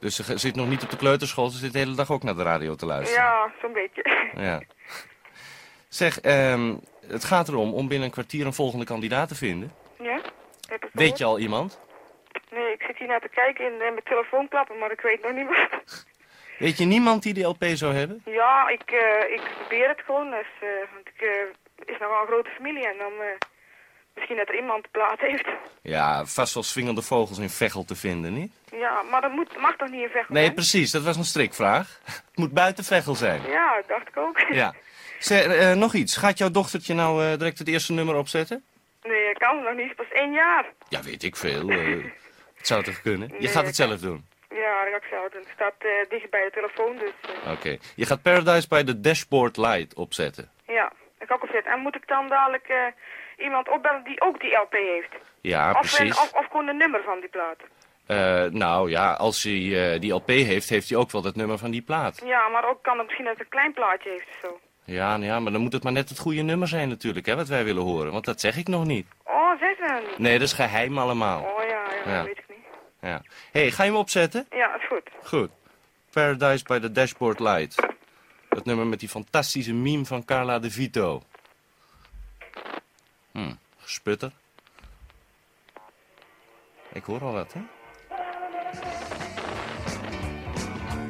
Dus ze ge- zit nog niet op de kleuterschool, ze zit de hele dag ook naar de radio te luisteren. Ja, zo'n beetje. Ja. Zeg, ehm, het gaat erom om binnen een kwartier een volgende kandidaat te vinden. Ja? Heb ik Weet je al iemand? gehoord. Nee, ik zit hier naar te kijken en eh, mijn telefoon klappen, maar ik weet nog niet meer. Weet je niemand die de LP zou hebben? Ja, ik, eh, ik probeer het gewoon. Dus, eh, want ik, eh, het is nogal een grote familie en dan eh, misschien dat er iemand de plaat heeft. Ja, vast wel swingende vogels in Veghel te vinden, niet? Ja, maar dat moet, mag toch niet in Veghel? Nee, hè? precies, dat was een strikvraag. Het moet buiten Veghel zijn. Ja, dat dacht ik ook. Ja. Zeg, eh, nog iets. Gaat jouw dochtertje nou eh, direct het eerste nummer opzetten? Nee, dat kan nog niet. Het is pas één jaar. Ja, weet ik veel. eh, het zou toch kunnen? Je Nee, gaat het ik- zelf doen. Ja, dat ga ik zelf doen. Het staat eh, dicht bij de telefoon, dus eh, Oké. Je gaat Paradise by the Dashboard Light opzetten. ja, ik kan ook opzet. En moet ik dan dadelijk eh, iemand opbellen die ook die LP heeft? Ja, of, een- Ah, precies. of, of gewoon een nummer van die plaat? Eh, nou ja, als hij eh, die LP heeft, heeft hij ook wel dat nummer van die plaat. Ja, maar ook kan het misschien dat het een klein plaatje heeft of zo. Ja, nou ja, maar dan moet het maar net het goede nummer zijn natuurlijk, hè, wat wij willen horen. Want dat zeg ik nog niet. Oh, zeg ze nou niet. Nee, dat is geheim allemaal. Oh ja, ja, Ja. dat weet ik niet. Ja. Hé, hey, ga je hem opzetten? Ja, is goed. Goed. Paradise by the Dashboard Light. Dat nummer met die fantastische meme van Carla De Vito. Hm, gesputter. Ik hoor al wat, hè?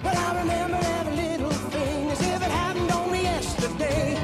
Well, I remember every little thing as if it happened only yesterday.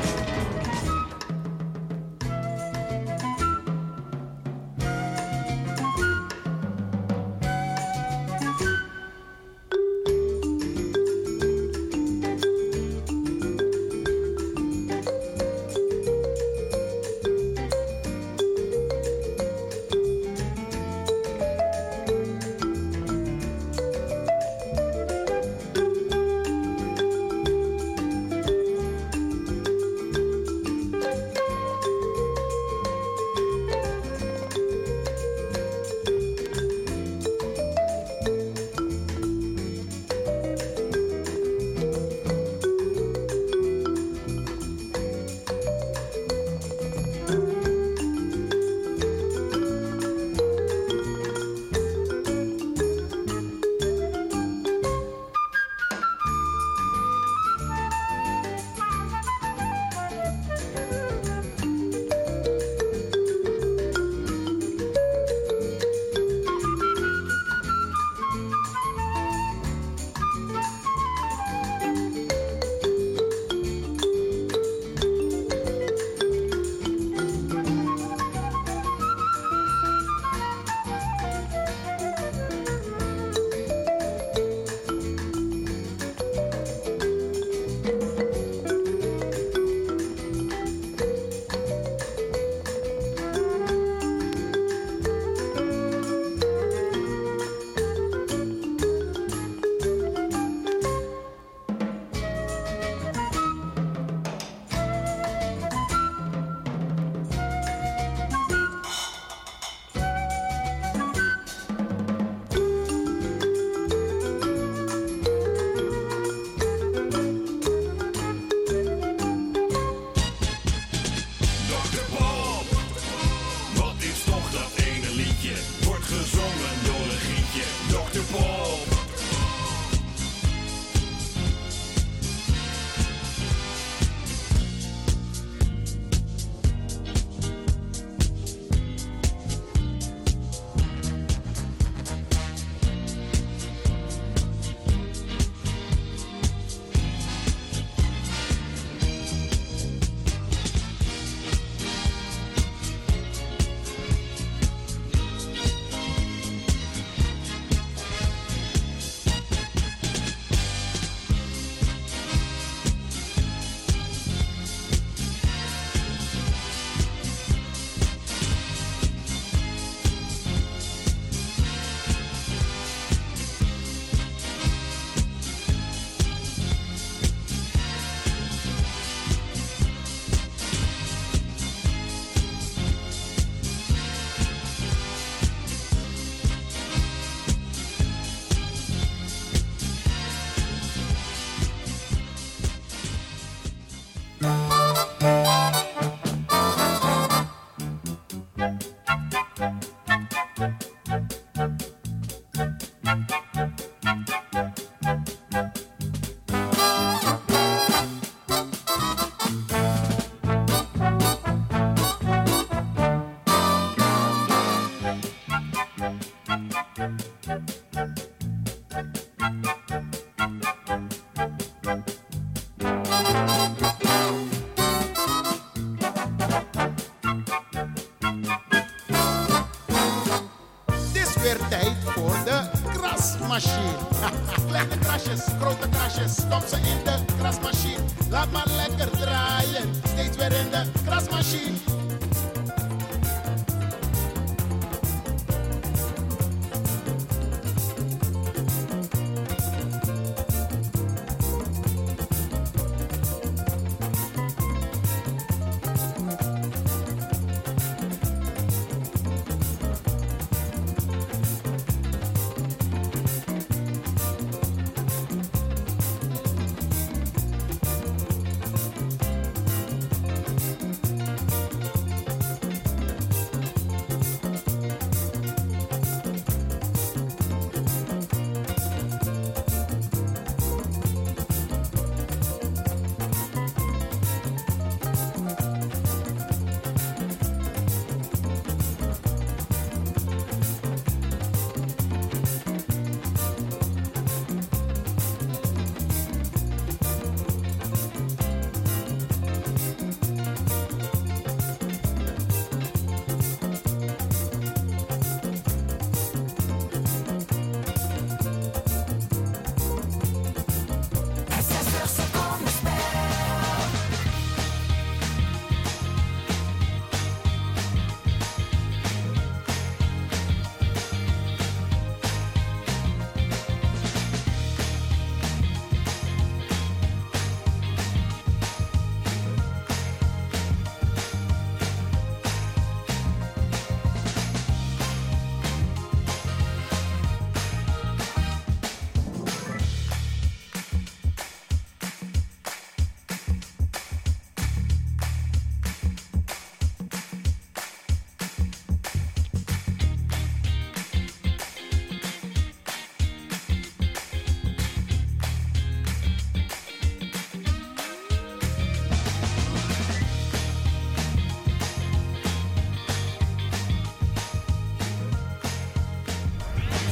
Het is weer tijd voor de krasmachine. Kleine krasjes, grote krasjes, stop ze in de krasmachine. Laat maar lekker draaien, steeds weer in de krasmachine.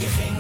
Je ging